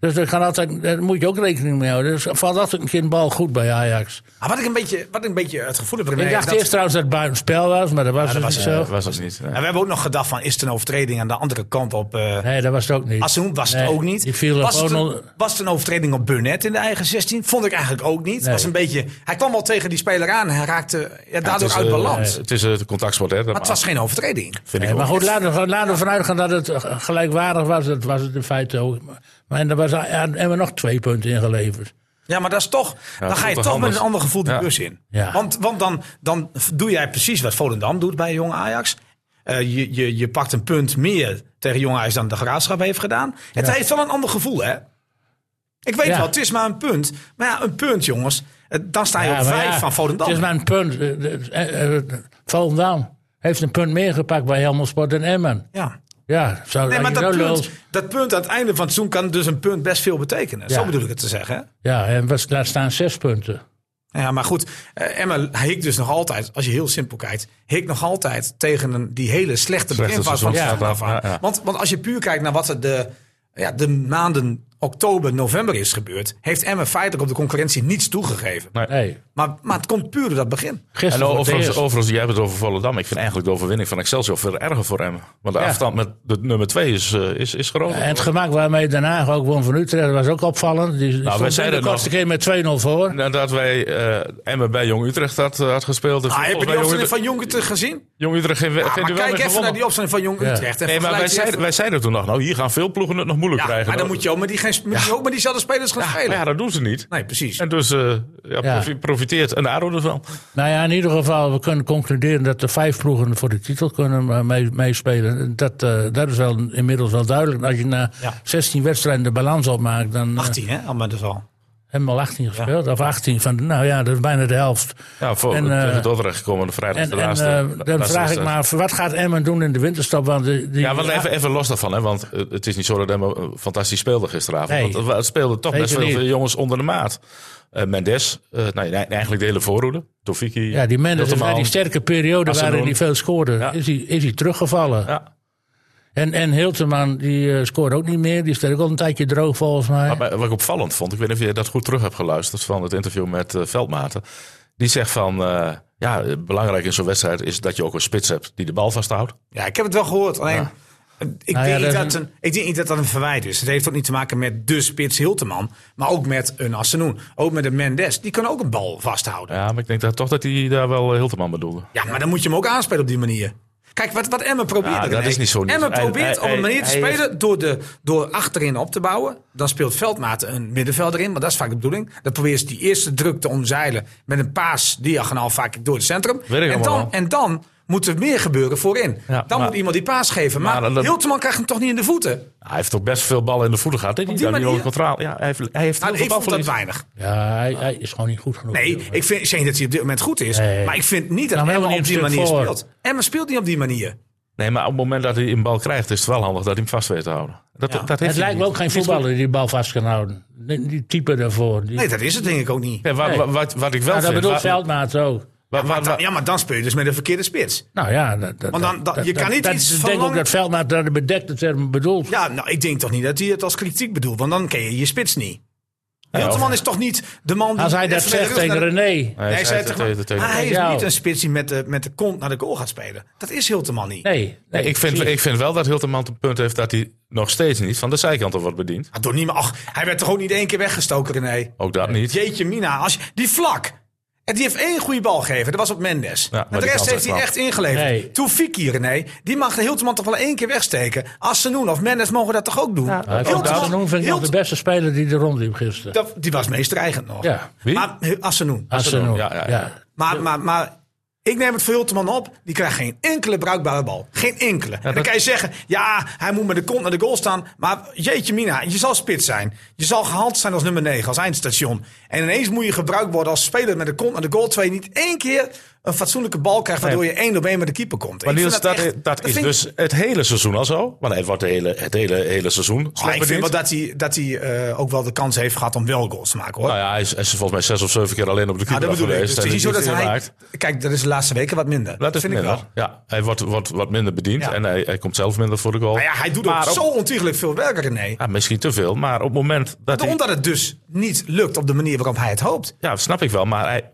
Speaker 1: Dus daar, gaan altijd, daar moet je ook rekening mee houden. Dus valt altijd een keer een bal goed bij Ajax.
Speaker 2: Maar wat ik een beetje, wat ik een beetje het gevoel heb ermee...
Speaker 1: ik dacht
Speaker 2: dat-
Speaker 1: eerst trouwens dat het buitenspel was, maar dat was dus
Speaker 2: was eh,
Speaker 1: niet
Speaker 2: het,
Speaker 1: zo.
Speaker 5: Dat was het niet.
Speaker 2: en we hebben ook nog gedacht van, is het een overtreding aan de andere kant op... eh
Speaker 1: nee, dat was het ook niet.
Speaker 2: Assoen was het
Speaker 1: Nee,
Speaker 2: ook niet.
Speaker 1: Die viel
Speaker 2: was, het
Speaker 1: gewoon
Speaker 2: een,
Speaker 1: al-
Speaker 2: was het een overtreding op Burnett in de eigen 16? Vond ik eigenlijk ook niet.
Speaker 1: Nee.
Speaker 2: Was een beetje, hij kwam al tegen die speler aan en hij raakte ja,
Speaker 5: Ja, het
Speaker 2: daardoor
Speaker 5: is,
Speaker 2: uit
Speaker 5: eh,
Speaker 2: balans.
Speaker 5: eh, Het is eh, het contactsport, hè? Dat
Speaker 2: Maar het was geen overtreding.
Speaker 1: Nee,
Speaker 5: vind ik ook.
Speaker 1: Eh, maar goed, laten we, laten we vanuit gaan dat het eh, gelijkwaardig was. Dat was het in feite ook. Maar en er was, en en we nog twee punten ingeleverd.
Speaker 2: Ja, maar dat is toch. dan
Speaker 5: dat
Speaker 2: ga je
Speaker 5: voelt
Speaker 2: toch met
Speaker 5: toch anders.
Speaker 2: een ander gevoel de
Speaker 5: Ja.
Speaker 2: bus in.
Speaker 1: Ja.
Speaker 2: Want, want dan, dan doe jij precies wat Volendam doet bij Jong Ajax. Eh, je, je, je pakt een punt meer tegen Jong Ajax dan de graafschap heeft gedaan. Het heeft wel een ander gevoel, hè? Ik weet
Speaker 1: Ja.
Speaker 2: wel, het is maar een punt. Maar ja, een punt, jongens. Eh, Dan sta je op
Speaker 1: maar
Speaker 2: vijf
Speaker 1: ja,
Speaker 2: van Volendam.
Speaker 1: Het is maar een punt. Eh, eh, eh, Volendam heeft een punt meer gepakt bij Helmond Sport en Emmen.
Speaker 2: Ja.
Speaker 1: Ja, zou
Speaker 2: Nee,
Speaker 1: als
Speaker 2: maar
Speaker 1: je
Speaker 2: dat
Speaker 1: zo
Speaker 2: punt,
Speaker 1: lult.
Speaker 2: dat punt aan het einde van het seizoen kan dus een punt best veel betekenen.
Speaker 1: Ja.
Speaker 2: Zo bedoel ik het te zeggen. hè?
Speaker 1: Ja, en was, daar staan zes punten.
Speaker 2: Ja, maar goed, eh, Emma hikt dus nog altijd, als je heel simpel kijkt, hikt nog altijd tegen een, die hele slechte
Speaker 5: Slechte
Speaker 2: beginfase van het
Speaker 5: seizoen.
Speaker 2: seizoen
Speaker 5: Ja,
Speaker 2: af aan.
Speaker 5: ja, ja.
Speaker 2: Want, want als je puur kijkt naar wat er de, ja, de maanden oktober, november is gebeurd, heeft Emma feitelijk op de concurrentie niets toegegeven.
Speaker 1: Nee,
Speaker 2: Maar, maar het komt puur door dat begin.
Speaker 1: gisteren
Speaker 5: En
Speaker 1: voor het
Speaker 5: overigens,
Speaker 1: eerst.
Speaker 5: overigens, jij hebt het over Volendam. Ik vind eigenlijk de overwinning van Excelsior veel erger voor hem. Want de
Speaker 1: Ja.
Speaker 5: afstand met de nummer 2 is, eh, is, is groot.
Speaker 1: En het gemak waarmee Den Haag ook won van Utrecht was ook opvallend. Die nou,
Speaker 5: wij
Speaker 1: stond in
Speaker 5: zeiden
Speaker 1: de
Speaker 5: het
Speaker 1: kortste keer met 2-0 voor.
Speaker 5: Nadat wij eh Emmen bij Jong Utrecht had, eh, had gespeeld. en
Speaker 2: Ah, heb je
Speaker 5: volgens
Speaker 2: die
Speaker 5: mij
Speaker 2: opstelling
Speaker 5: Jong,
Speaker 2: van
Speaker 5: Utrecht,
Speaker 2: Jonker te gezien?
Speaker 5: Jong Utrecht geen, we-
Speaker 2: Ah,
Speaker 5: geen
Speaker 2: maar
Speaker 5: duel
Speaker 2: kijk
Speaker 5: meer
Speaker 2: even
Speaker 5: gewonnen.
Speaker 2: naar die opstelling van Jong
Speaker 1: Ja.
Speaker 2: Utrecht. En
Speaker 5: Nee, maar wij
Speaker 2: vergelijk die
Speaker 5: zeiden,
Speaker 2: even.
Speaker 5: wij zeiden toen nog, nou hier gaan veel ploegen het nog moeilijk
Speaker 2: ja,
Speaker 5: krijgen.
Speaker 2: maar dan
Speaker 5: Nou,
Speaker 2: moet je ook met, die geen, moet je ook met diezelfde spelers gaan
Speaker 5: maar
Speaker 2: spelen.
Speaker 5: ja, dat doen ze niet.
Speaker 2: Nee, precies.
Speaker 5: En dus eh, ja,
Speaker 1: Ja.
Speaker 5: profi- profiteert een ADO ervan.
Speaker 1: Nou ja, in ieder geval, we kunnen concluderen dat de vijf ploegen voor de titel kunnen eh, mee- meespelen. Dat, eh, dat is wel inmiddels wel duidelijk. Als je na
Speaker 2: Ja.
Speaker 1: 16 wedstrijden de balans opmaakt, dan eh,
Speaker 2: 18, hè, allemaal dus al.
Speaker 1: hebben we al 18 gespeeld. Of 18, van, nou ja, dat is bijna de helft.
Speaker 5: Ja, voor,
Speaker 1: En, eh,
Speaker 5: tegen Dordrecht komen de vrijdag
Speaker 1: En,
Speaker 5: de
Speaker 1: en,
Speaker 5: laatste.
Speaker 1: eh,
Speaker 5: laatste
Speaker 1: dan vraag ik
Speaker 5: wedstrijd.
Speaker 1: maar, af, wat gaat Emmen doen in de winterstop? Want die, die-
Speaker 5: Ja, want even, even los daarvan, hè, want eh, het is niet zo dat Emma fantastisch speelde gisteravond.
Speaker 1: Nee.
Speaker 5: Want het wa- het speelden toch best
Speaker 1: Zeker
Speaker 5: veel
Speaker 1: niet.
Speaker 5: veel jongens onder de maat. Eh, Mendes, eh, nou, nee, eigenlijk de hele voorhoede. Tofiki.
Speaker 1: ja, die Mendes,
Speaker 5: Hilterman.
Speaker 1: na die sterke periode
Speaker 5: Asenoen.
Speaker 1: waarin hij veel scoorde,
Speaker 5: Ja.
Speaker 1: is hij is hij teruggevallen.
Speaker 5: Ja,
Speaker 1: En, en Hilterman, die eh, scoorde ook niet meer. Die staat ook al een tijdje droog volgens mij.
Speaker 5: maar bij- wat ik opvallend vond, ik weet niet of je dat goed terug hebt geluisterd van het interview met eh, Veldmaten. Die zegt van, eh, ja, eh, belangrijk in zo'n wedstrijd is dat je ook een spits hebt die de bal vasthoudt.
Speaker 2: Ja, ik heb het wel gehoord. Alleen, ik,
Speaker 1: Nou ja,
Speaker 2: denk niet
Speaker 1: dat-
Speaker 2: dat een, ik denk niet dat dat een verwijt is. Het heeft ook niet te maken met de spits Hilteman. Maar ook met een Assenoen. Ook met een Mendes. Die kunnen ook een bal vasthouden. Ja.
Speaker 5: Ja, maar ik denk dat, toch dat hij daar wel Hilterman bedoelde.
Speaker 2: maar dan moet je hem ook aanspelen op die manier. Kijk, wat, wat Emmen probeert.
Speaker 5: Ja, dat
Speaker 2: René.
Speaker 5: is niet zo niet.
Speaker 2: Emmen
Speaker 5: Hij-
Speaker 2: probeert
Speaker 5: hij-
Speaker 2: op een manier te
Speaker 5: hij- hij
Speaker 2: spelen door, de, door achterin op te bouwen. Dan speelt Veldmaat een middenvelder in, maar dat is vaak de bedoeling. Dan probeert ze die eerste druk te omzeilen met een paas diagonaal vaak door het centrum.
Speaker 5: Weet ik
Speaker 2: En
Speaker 5: allemaal
Speaker 2: dan,
Speaker 5: wel.
Speaker 2: en dan moet er meer gebeuren voorin.
Speaker 5: Ja,
Speaker 2: dan
Speaker 5: maar-
Speaker 2: moet iemand die paas geven. Maar,
Speaker 5: Maar dat- dat-
Speaker 2: Hilteman krijgt hem toch niet in de voeten.
Speaker 5: Hij heeft toch best veel ballen in de voeten gehad. hè? Die,
Speaker 2: die
Speaker 5: die, die
Speaker 2: manier?
Speaker 5: contraal. Ja, hij heeft, hij heeft
Speaker 2: Nou,
Speaker 5: heel veel
Speaker 2: ik vond dat
Speaker 5: balverlies.
Speaker 2: weinig.
Speaker 1: Ja, hij, hij is gewoon niet goed genoeg.
Speaker 2: Nee,
Speaker 1: jongen.
Speaker 2: ik vind, ik zeg niet dat hij op dit moment goed is.
Speaker 1: Nee.
Speaker 2: Maar ik vind niet dat
Speaker 1: Nou,
Speaker 2: Emma
Speaker 1: helemaal
Speaker 2: op
Speaker 1: niet
Speaker 2: die
Speaker 1: een
Speaker 2: manier
Speaker 1: stuk voor.
Speaker 2: speelt. Emma speelt niet op die manier.
Speaker 5: Nee, maar op het moment dat hij een bal krijgt, is het wel handig dat hij hem vast weet te houden. Dat, dat heeft
Speaker 1: het
Speaker 5: hij
Speaker 1: lijkt me
Speaker 5: niet.
Speaker 1: ook geen voetballer die die bal vast kan houden. Die, die type daarvoor. Die,
Speaker 2: Nee, dat is het denk ik ook niet.
Speaker 5: Ja, wa- wa- wat, wat, ik
Speaker 1: Ja,
Speaker 2: Nou,
Speaker 5: wel
Speaker 1: dat
Speaker 5: vind...
Speaker 1: bedoelt
Speaker 5: wa-
Speaker 1: Veldmaat ook.
Speaker 5: wa- wa-
Speaker 2: Maar dan,
Speaker 5: wa-
Speaker 2: ja, maar dan speel je dus met een verkeerde spits.
Speaker 1: Nou ja, dat, dat,
Speaker 2: Want dan- dan-
Speaker 1: dat-
Speaker 2: je kan
Speaker 1: dat-
Speaker 2: niet
Speaker 1: dat-
Speaker 2: iets
Speaker 1: Ik denk
Speaker 2: verlangen-
Speaker 1: ook dat Veldmaat dat bedekte term bedoelt.
Speaker 2: Ja, nou, ik denk toch niet dat hij het als kritiek bedoelt. Want dan ken je je spits niet. Hilteman is toch niet de man die...
Speaker 1: Als hij dat
Speaker 2: even met de
Speaker 1: zegt
Speaker 2: rug
Speaker 1: tegen
Speaker 2: naar-
Speaker 1: René.
Speaker 5: Nee,
Speaker 2: Hij, Ah, zei
Speaker 5: hij zei
Speaker 2: tegen-
Speaker 5: tegen- tegen-
Speaker 2: maar hij is
Speaker 1: jou.
Speaker 2: niet een spits die met de, met de kont naar de goal gaat spelen. Dat is Hilteman niet.
Speaker 1: Nee, nee,
Speaker 5: ik, vind,
Speaker 1: precies.
Speaker 5: ik vind wel dat Hilterman het punt heeft dat hij nog steeds niet van de zijkant al wordt bediend.
Speaker 2: Ah, Door niemand, ach, hij werd toch ook niet één keer weggestoken, René?
Speaker 5: Ook dat niet.
Speaker 2: Jeetje mina, als je, die vlak. En die heeft één goede bal gegeven. Dat was op Mendes.
Speaker 5: maar
Speaker 2: maar de
Speaker 5: die
Speaker 2: rest
Speaker 5: kans
Speaker 2: heeft hij
Speaker 5: kwam.
Speaker 2: echt ingeleverd.
Speaker 1: Nee.
Speaker 2: Toefiki, René, die mag de Hilteman toch wel één keer wegsteken. Asenoen of Mendes mogen dat toch ook doen?
Speaker 1: Ja, ik
Speaker 2: Hilteman-
Speaker 1: vind Asenoen vind ik nog de
Speaker 2: Hilt-
Speaker 1: beste speler die er rondliep gisteren.
Speaker 2: dat- die was meest dreigend nog.
Speaker 1: Ja,
Speaker 5: Wie?
Speaker 2: Maar eh, Asenoen.
Speaker 1: Asenoen.
Speaker 5: ja, ja, ja.
Speaker 1: ja.
Speaker 2: Maar, maar, maar ik neem het voor Hilteman op. Die krijgt geen enkele bruikbare bal. Geen enkele. En dan
Speaker 5: dat-
Speaker 2: kan je zeggen, ja, hij moet met de kont naar de goal staan. Maar jeetje mina, je zal spits zijn. Je zal gehaald zijn als nummer 9, als eindstation. En ineens moet je gebruikt worden als speler met de kont naar de goal. Terwijl je niet één keer een fatsoenlijke bal krijgt... waardoor je één op één met de keeper komt.
Speaker 5: Maar
Speaker 2: Ik vind
Speaker 5: Niels, dat,
Speaker 2: echt-
Speaker 5: dat, is
Speaker 2: vind ik-
Speaker 5: dus het hele seizoen al zo. Want hij wordt de hele, het hele, hele seizoen
Speaker 2: Maar
Speaker 5: slecht
Speaker 2: Ah, ik vind
Speaker 5: bediend.
Speaker 2: wel dat hij, dat hij eh, ook wel de kans heeft gehad om wel goals te maken, hoor.
Speaker 5: Nou ja, hij is, hij is volgens mij zes of zeven keer alleen op de
Speaker 2: Ja,
Speaker 5: keeper
Speaker 2: dat bedoel ik.
Speaker 5: afgewezen.
Speaker 2: Dus het is niet zo dat
Speaker 5: heeft
Speaker 2: hij...
Speaker 5: gemaakt.
Speaker 2: Kijk, dat is de laatste weken wat minder.
Speaker 5: Dat is
Speaker 2: vind ik
Speaker 5: minder.
Speaker 2: wel.
Speaker 5: Ja, hij wordt, wordt wat minder bediend
Speaker 2: Ja.
Speaker 5: en hij, hij komt zelf minder voor de goal.
Speaker 2: Maar ja, hij doet
Speaker 5: Maar
Speaker 2: ook
Speaker 5: op-
Speaker 2: zo ontiegelijk veel werk, René.
Speaker 5: Ja, misschien te veel, maar op het moment dat hij...
Speaker 2: Omdat het dus niet lukt op de manier waarop hij het hoopt.
Speaker 5: Ja, snap ik wel, maar hij,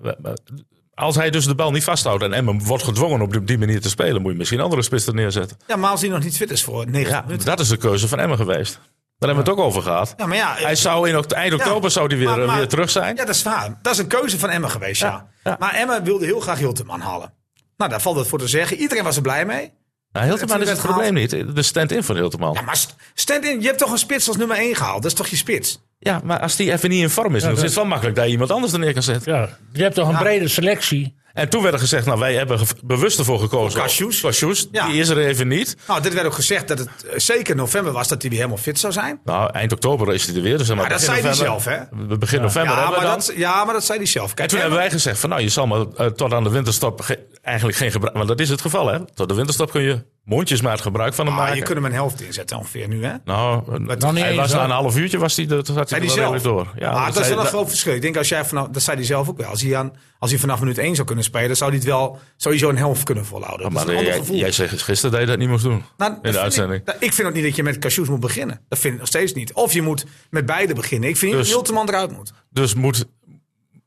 Speaker 5: als hij dus de bal niet vasthoudt en Emmen wordt gedwongen op die- die manier te spelen, moet je misschien andere spits er neerzetten.
Speaker 2: Ja, maar als hij nog niet fit is voor 90
Speaker 5: Ja,
Speaker 2: minuten.
Speaker 5: dat is de keuze van Emmen geweest. Daar hebben we het ook over gehad.
Speaker 2: Ja, maar ja,
Speaker 5: hij zou in oct- eind oktober zou hij weer,
Speaker 2: maar-
Speaker 5: eh,
Speaker 2: maar-
Speaker 5: weer terug zijn.
Speaker 2: Ja, dat is waar. Dat is een keuze van Emma geweest, ja.
Speaker 5: ja.
Speaker 2: Maar Emma wilde heel graag Hilteman halen. Nou, daar valt het voor te zeggen. Iedereen was er blij mee.
Speaker 5: Nou, Hilteman is
Speaker 2: werd
Speaker 5: het probleem niet. De stand-in van Hilteman.
Speaker 2: Ja,
Speaker 5: Ja,
Speaker 2: maar st- stand in, je hebt toch een spits als nummer 1 gehaald? Dat is toch je spits?
Speaker 5: maar als die even niet in vorm is, dan is het wel makkelijk dat je iemand anders er neer kan zetten.
Speaker 1: Ja. Je hebt toch een brede selectie?
Speaker 5: En toen werd er gezegd, nou wij hebben gev- bewust ervoor gekozen.
Speaker 2: Cassius.
Speaker 5: Cassius,
Speaker 2: Ja.
Speaker 5: die is er even niet.
Speaker 2: Nou, dit werd ook gezegd dat het eh, zeker november was dat hij weer helemaal fit zou zijn.
Speaker 5: Nou, eind oktober is hij er weer. Dus dan
Speaker 2: Maar dat
Speaker 5: begin
Speaker 2: zei hij zelf,
Speaker 5: november-
Speaker 2: hè?
Speaker 5: We- Begin november
Speaker 2: Ja,
Speaker 5: hebben
Speaker 2: maar
Speaker 5: we dan.
Speaker 2: dat, ja, maar dat zei hij zelf.
Speaker 5: En
Speaker 2: Kijk,
Speaker 5: toen
Speaker 2: Emma-
Speaker 5: hebben wij gezegd van nou, je zal maar eh, tot aan de winterstop ge- eigenlijk geen gebruik. Want dat is het geval hè. Tot de winterstop kun je mondjesmaat gebruik van hem
Speaker 2: Ah,
Speaker 5: maken.
Speaker 2: je kunt hem een helft inzetten ongeveer nu, hè?
Speaker 5: Nou, eh,
Speaker 2: nog
Speaker 1: niet
Speaker 5: hij
Speaker 1: eens,
Speaker 5: was na
Speaker 1: hoor.
Speaker 5: een half uurtje was hij, dat had hij
Speaker 2: Zei
Speaker 5: er
Speaker 2: die
Speaker 5: wel
Speaker 2: zelf.
Speaker 5: redelijk door. dus
Speaker 2: maar dat is
Speaker 5: hij-
Speaker 2: wel een groot verschil. Ik denk als jij vanaf, dat zei hij zelf ook wel. Als hij, aan, als hij vanaf minuut 1 zou kunnen spelen, zou hij het wel sowieso een helft kunnen volhouden. Dat
Speaker 5: Oh, Maar
Speaker 2: is een ander
Speaker 5: jij,
Speaker 2: gevoel.
Speaker 5: jij zei gisteren dat je dat niet moest doen
Speaker 2: Nou, dat
Speaker 5: in de
Speaker 2: vind
Speaker 5: uitzending.
Speaker 2: Ik, dat- ik vind ook niet dat je met cashews moet beginnen. Dat vind ik nog steeds niet. Of je moet met beide beginnen. Ik vind niet
Speaker 5: Dus-
Speaker 2: dat Hilteman eruit moet.
Speaker 5: Dus moet,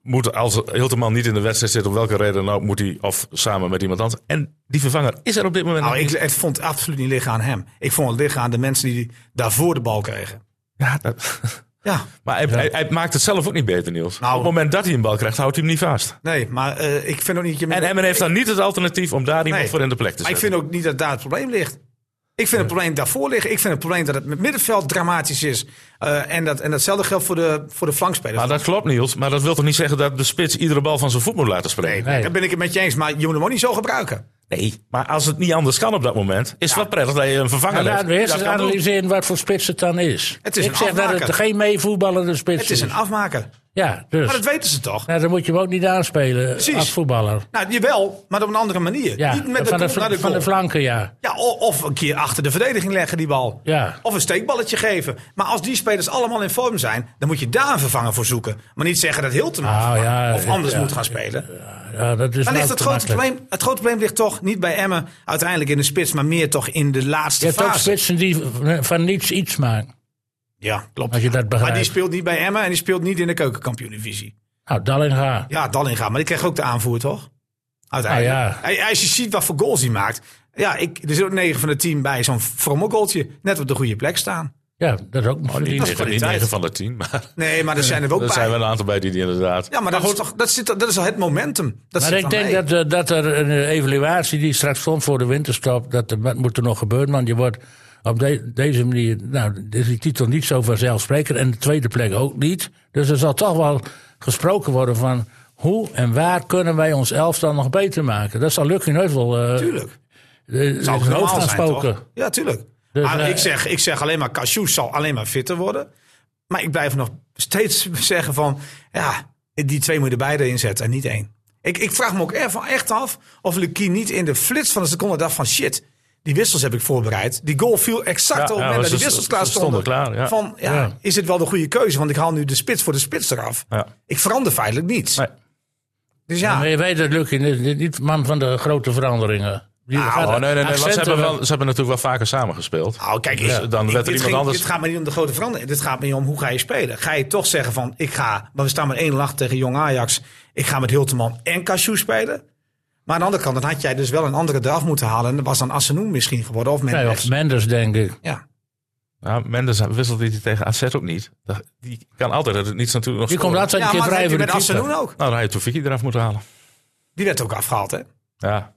Speaker 5: moet als Hilteman niet in de wedstrijd zit, om welke reden nou, moet hij of samen met iemand anders. En die vervanger is er op dit moment
Speaker 2: Nou,
Speaker 5: nog
Speaker 2: ik,
Speaker 5: niet.
Speaker 2: het vond absoluut niet liggen aan hem. Ik vond het liggen aan de mensen die daarvoor de bal kregen.
Speaker 5: Ja, dat-
Speaker 2: Ja,
Speaker 5: maar hij, hij, hij maakt het zelf ook niet beter, Niels.
Speaker 2: Nou.
Speaker 5: op het moment dat hij een bal krijgt, houdt hij hem niet vast.
Speaker 2: nee, maar eh, ik vind ook niet dat je met...
Speaker 5: En Emmen heeft dan niet het alternatief om daar iemand
Speaker 2: Nee.
Speaker 5: voor in de plek te
Speaker 2: Maar ik
Speaker 5: zetten.
Speaker 2: vind ook niet dat daar het probleem ligt. Ik vind het probleem daarvoor liggen. Ik vind het probleem dat het met middenveld dramatisch is. Eh, en, dat, en datzelfde geldt voor de, voor de flankspelers.
Speaker 5: Maar dat klopt, Niels. Maar dat wil toch niet zeggen dat de spits iedere bal van zijn voet moet laten
Speaker 2: nee,
Speaker 5: springen?
Speaker 1: Nee.
Speaker 2: daar ben ik het met je eens. Maar je moet hem ook niet zo gebruiken.
Speaker 5: Nee. Maar als het niet anders kan op dat moment, is het wel prettig dat je een vervanger
Speaker 1: En laten we
Speaker 5: hebt.
Speaker 1: eerst
Speaker 5: Dat
Speaker 1: eens
Speaker 5: kan doen.
Speaker 1: analyseren wat voor spits het dan is.
Speaker 2: Het is
Speaker 1: ik
Speaker 2: een
Speaker 1: zeg dat
Speaker 2: afmaker.
Speaker 1: het geen meevoetballende spits
Speaker 2: Het is een afmaker.
Speaker 1: Ja, dus.
Speaker 2: Maar dat weten ze toch?
Speaker 1: Nou, dan moet je hem ook niet aanspelen
Speaker 2: Precies.
Speaker 1: als voetballer.
Speaker 2: Nou, jawel, maar op een andere manier.
Speaker 1: Ja,
Speaker 2: niet met de,
Speaker 1: van,
Speaker 2: kop
Speaker 1: de,
Speaker 2: naar de
Speaker 1: van de
Speaker 2: goal.
Speaker 1: flanken, ja.
Speaker 2: Ja, o- of een keer achter de verdediging leggen die bal.
Speaker 1: Ja.
Speaker 2: Of een steekballetje geven. Maar als die spelers allemaal in vorm zijn, dan moet je daar een vervanger voor zoeken. Maar niet zeggen dat Hilton
Speaker 1: Nou, ja,
Speaker 2: of anders
Speaker 1: ja,
Speaker 2: moet gaan spelen.
Speaker 1: ja dat is
Speaker 2: Dan
Speaker 1: nou
Speaker 2: ligt het
Speaker 1: te
Speaker 2: grote,
Speaker 1: makkelijk.
Speaker 2: probleem, het grote probleem ligt toch niet bij Emmen uiteindelijk in de spits, maar meer toch in de
Speaker 1: Je
Speaker 2: laatste
Speaker 1: hebt ook
Speaker 2: fase.
Speaker 1: spitsen die van- van niets iets maken.
Speaker 2: Ja, klopt.
Speaker 1: Als je dat
Speaker 2: Maar die
Speaker 1: begrijpt.
Speaker 2: speelt niet bij Emmen en die speelt niet in de keukenkampioen-divisie.
Speaker 1: Nou, Dallinga.
Speaker 2: Ja, Dallinga, maar die kreeg ook de aanvoer, toch? Uiteindelijk.
Speaker 1: Ah, ja.
Speaker 2: Hij- Als je ziet wat voor goals hij maakt. Ja, ik, er zit ook 9 van de 10 bij zo'n frommel goaltje. Net op de goede plek staan.
Speaker 1: Ja, dat is ook nog
Speaker 2: Oh,
Speaker 5: Niet
Speaker 1: verdiend.
Speaker 5: negen- Niet
Speaker 2: kwaliteit.
Speaker 5: 9 van de 10, maar
Speaker 2: Nee, maar er zijn er ook
Speaker 5: er
Speaker 2: bij.
Speaker 5: zijn wel een aantal bij die, die inderdaad.
Speaker 2: Ja, maar, dat, is toch, dat, zit, dat is al het momentum. Dat
Speaker 1: Maar
Speaker 2: zit
Speaker 1: ik
Speaker 2: dan
Speaker 1: denk
Speaker 2: mee.
Speaker 1: dat, eh, dat er een eh, evaluatie die straks stond voor de winterstop, dat, er- dat moet er nog gebeuren. Want je wordt op de- deze manier, nou, is die titel niet zo vanzelfsprekend en de tweede plek ook niet. Dus er zal toch wel gesproken worden van hoe en waar kunnen wij ons elftal nog beter maken. Dat zal Lucky Neuvel eh
Speaker 2: Tuurlijk.
Speaker 1: eh,
Speaker 2: Zou
Speaker 1: in zijn hoofd
Speaker 2: normaal
Speaker 1: gaan
Speaker 2: zijn,
Speaker 1: spoken.
Speaker 2: toch? Ja, tuurlijk.
Speaker 1: Dus,
Speaker 2: Maar
Speaker 1: eh,
Speaker 2: ik, zeg, ik zeg alleen maar, Cassius zal alleen maar fitter worden. Maar ik blijf nog steeds zeggen van, ja, die twee moet je er beide in zetten en niet één. Ik, ik vraag me ook echt, echt af of Lucky niet in de flits van de seconde dacht van, shit, die wissels heb ik voorbereid. Die goal viel exact
Speaker 5: Ja,
Speaker 2: op het
Speaker 5: ja,
Speaker 2: moment dat
Speaker 5: ze
Speaker 2: die wissels klaar
Speaker 5: stonden
Speaker 2: stonden.
Speaker 5: klaar, ja.
Speaker 2: Van, ja,
Speaker 1: Ja.
Speaker 2: is het wel de goede keuze? Want ik haal nu de spits voor de spits eraf.
Speaker 5: Ja.
Speaker 2: Ik verander feitelijk niets.
Speaker 5: Nee.
Speaker 2: Dus ja,
Speaker 1: Maar je weet dat Lucky is niet man van de grote veranderingen. Die
Speaker 5: Nou,
Speaker 1: gaat-
Speaker 5: nee, nee, nee. Want ze,
Speaker 1: accenten
Speaker 5: hebben wel, ze hebben natuurlijk wel vaker samengespeeld.
Speaker 2: Nou, kijk,
Speaker 5: Dus
Speaker 2: ik-
Speaker 5: dan
Speaker 2: ik-
Speaker 5: werd er
Speaker 2: dit,
Speaker 5: iemand
Speaker 2: ging-
Speaker 5: anders-
Speaker 2: dit gaat me niet om de grote verandering. Dit gaat me niet om hoe ga je spelen. Ga je toch zeggen van, ik ga, maar we staan met één lach tegen Jong Ajax. Ik ga met Hilteman en Cassius spelen. Maar aan de andere kant, dan had jij dus wel een andere eraf moeten halen. En dat was dan Assenoen misschien geworden. Of
Speaker 1: Nee,
Speaker 2: Mendes.
Speaker 1: of Mendes, denk ik.
Speaker 2: ja.
Speaker 5: Nou, Mendes wisselt hij tegen AZ ook niet. Dat- Die kan altijd, dat het niet natuurlijk nog
Speaker 1: Die komt
Speaker 5: scoren.
Speaker 1: laatst uit
Speaker 2: ja,
Speaker 1: een keer
Speaker 2: maar dat
Speaker 1: vrij
Speaker 2: heb je
Speaker 1: voor de
Speaker 2: met Assenoen
Speaker 1: keeper.
Speaker 2: ook.
Speaker 5: Nou, dan had je Tofiki eraf moeten halen.
Speaker 2: Die werd ook afgehaald, hè?
Speaker 5: Ja.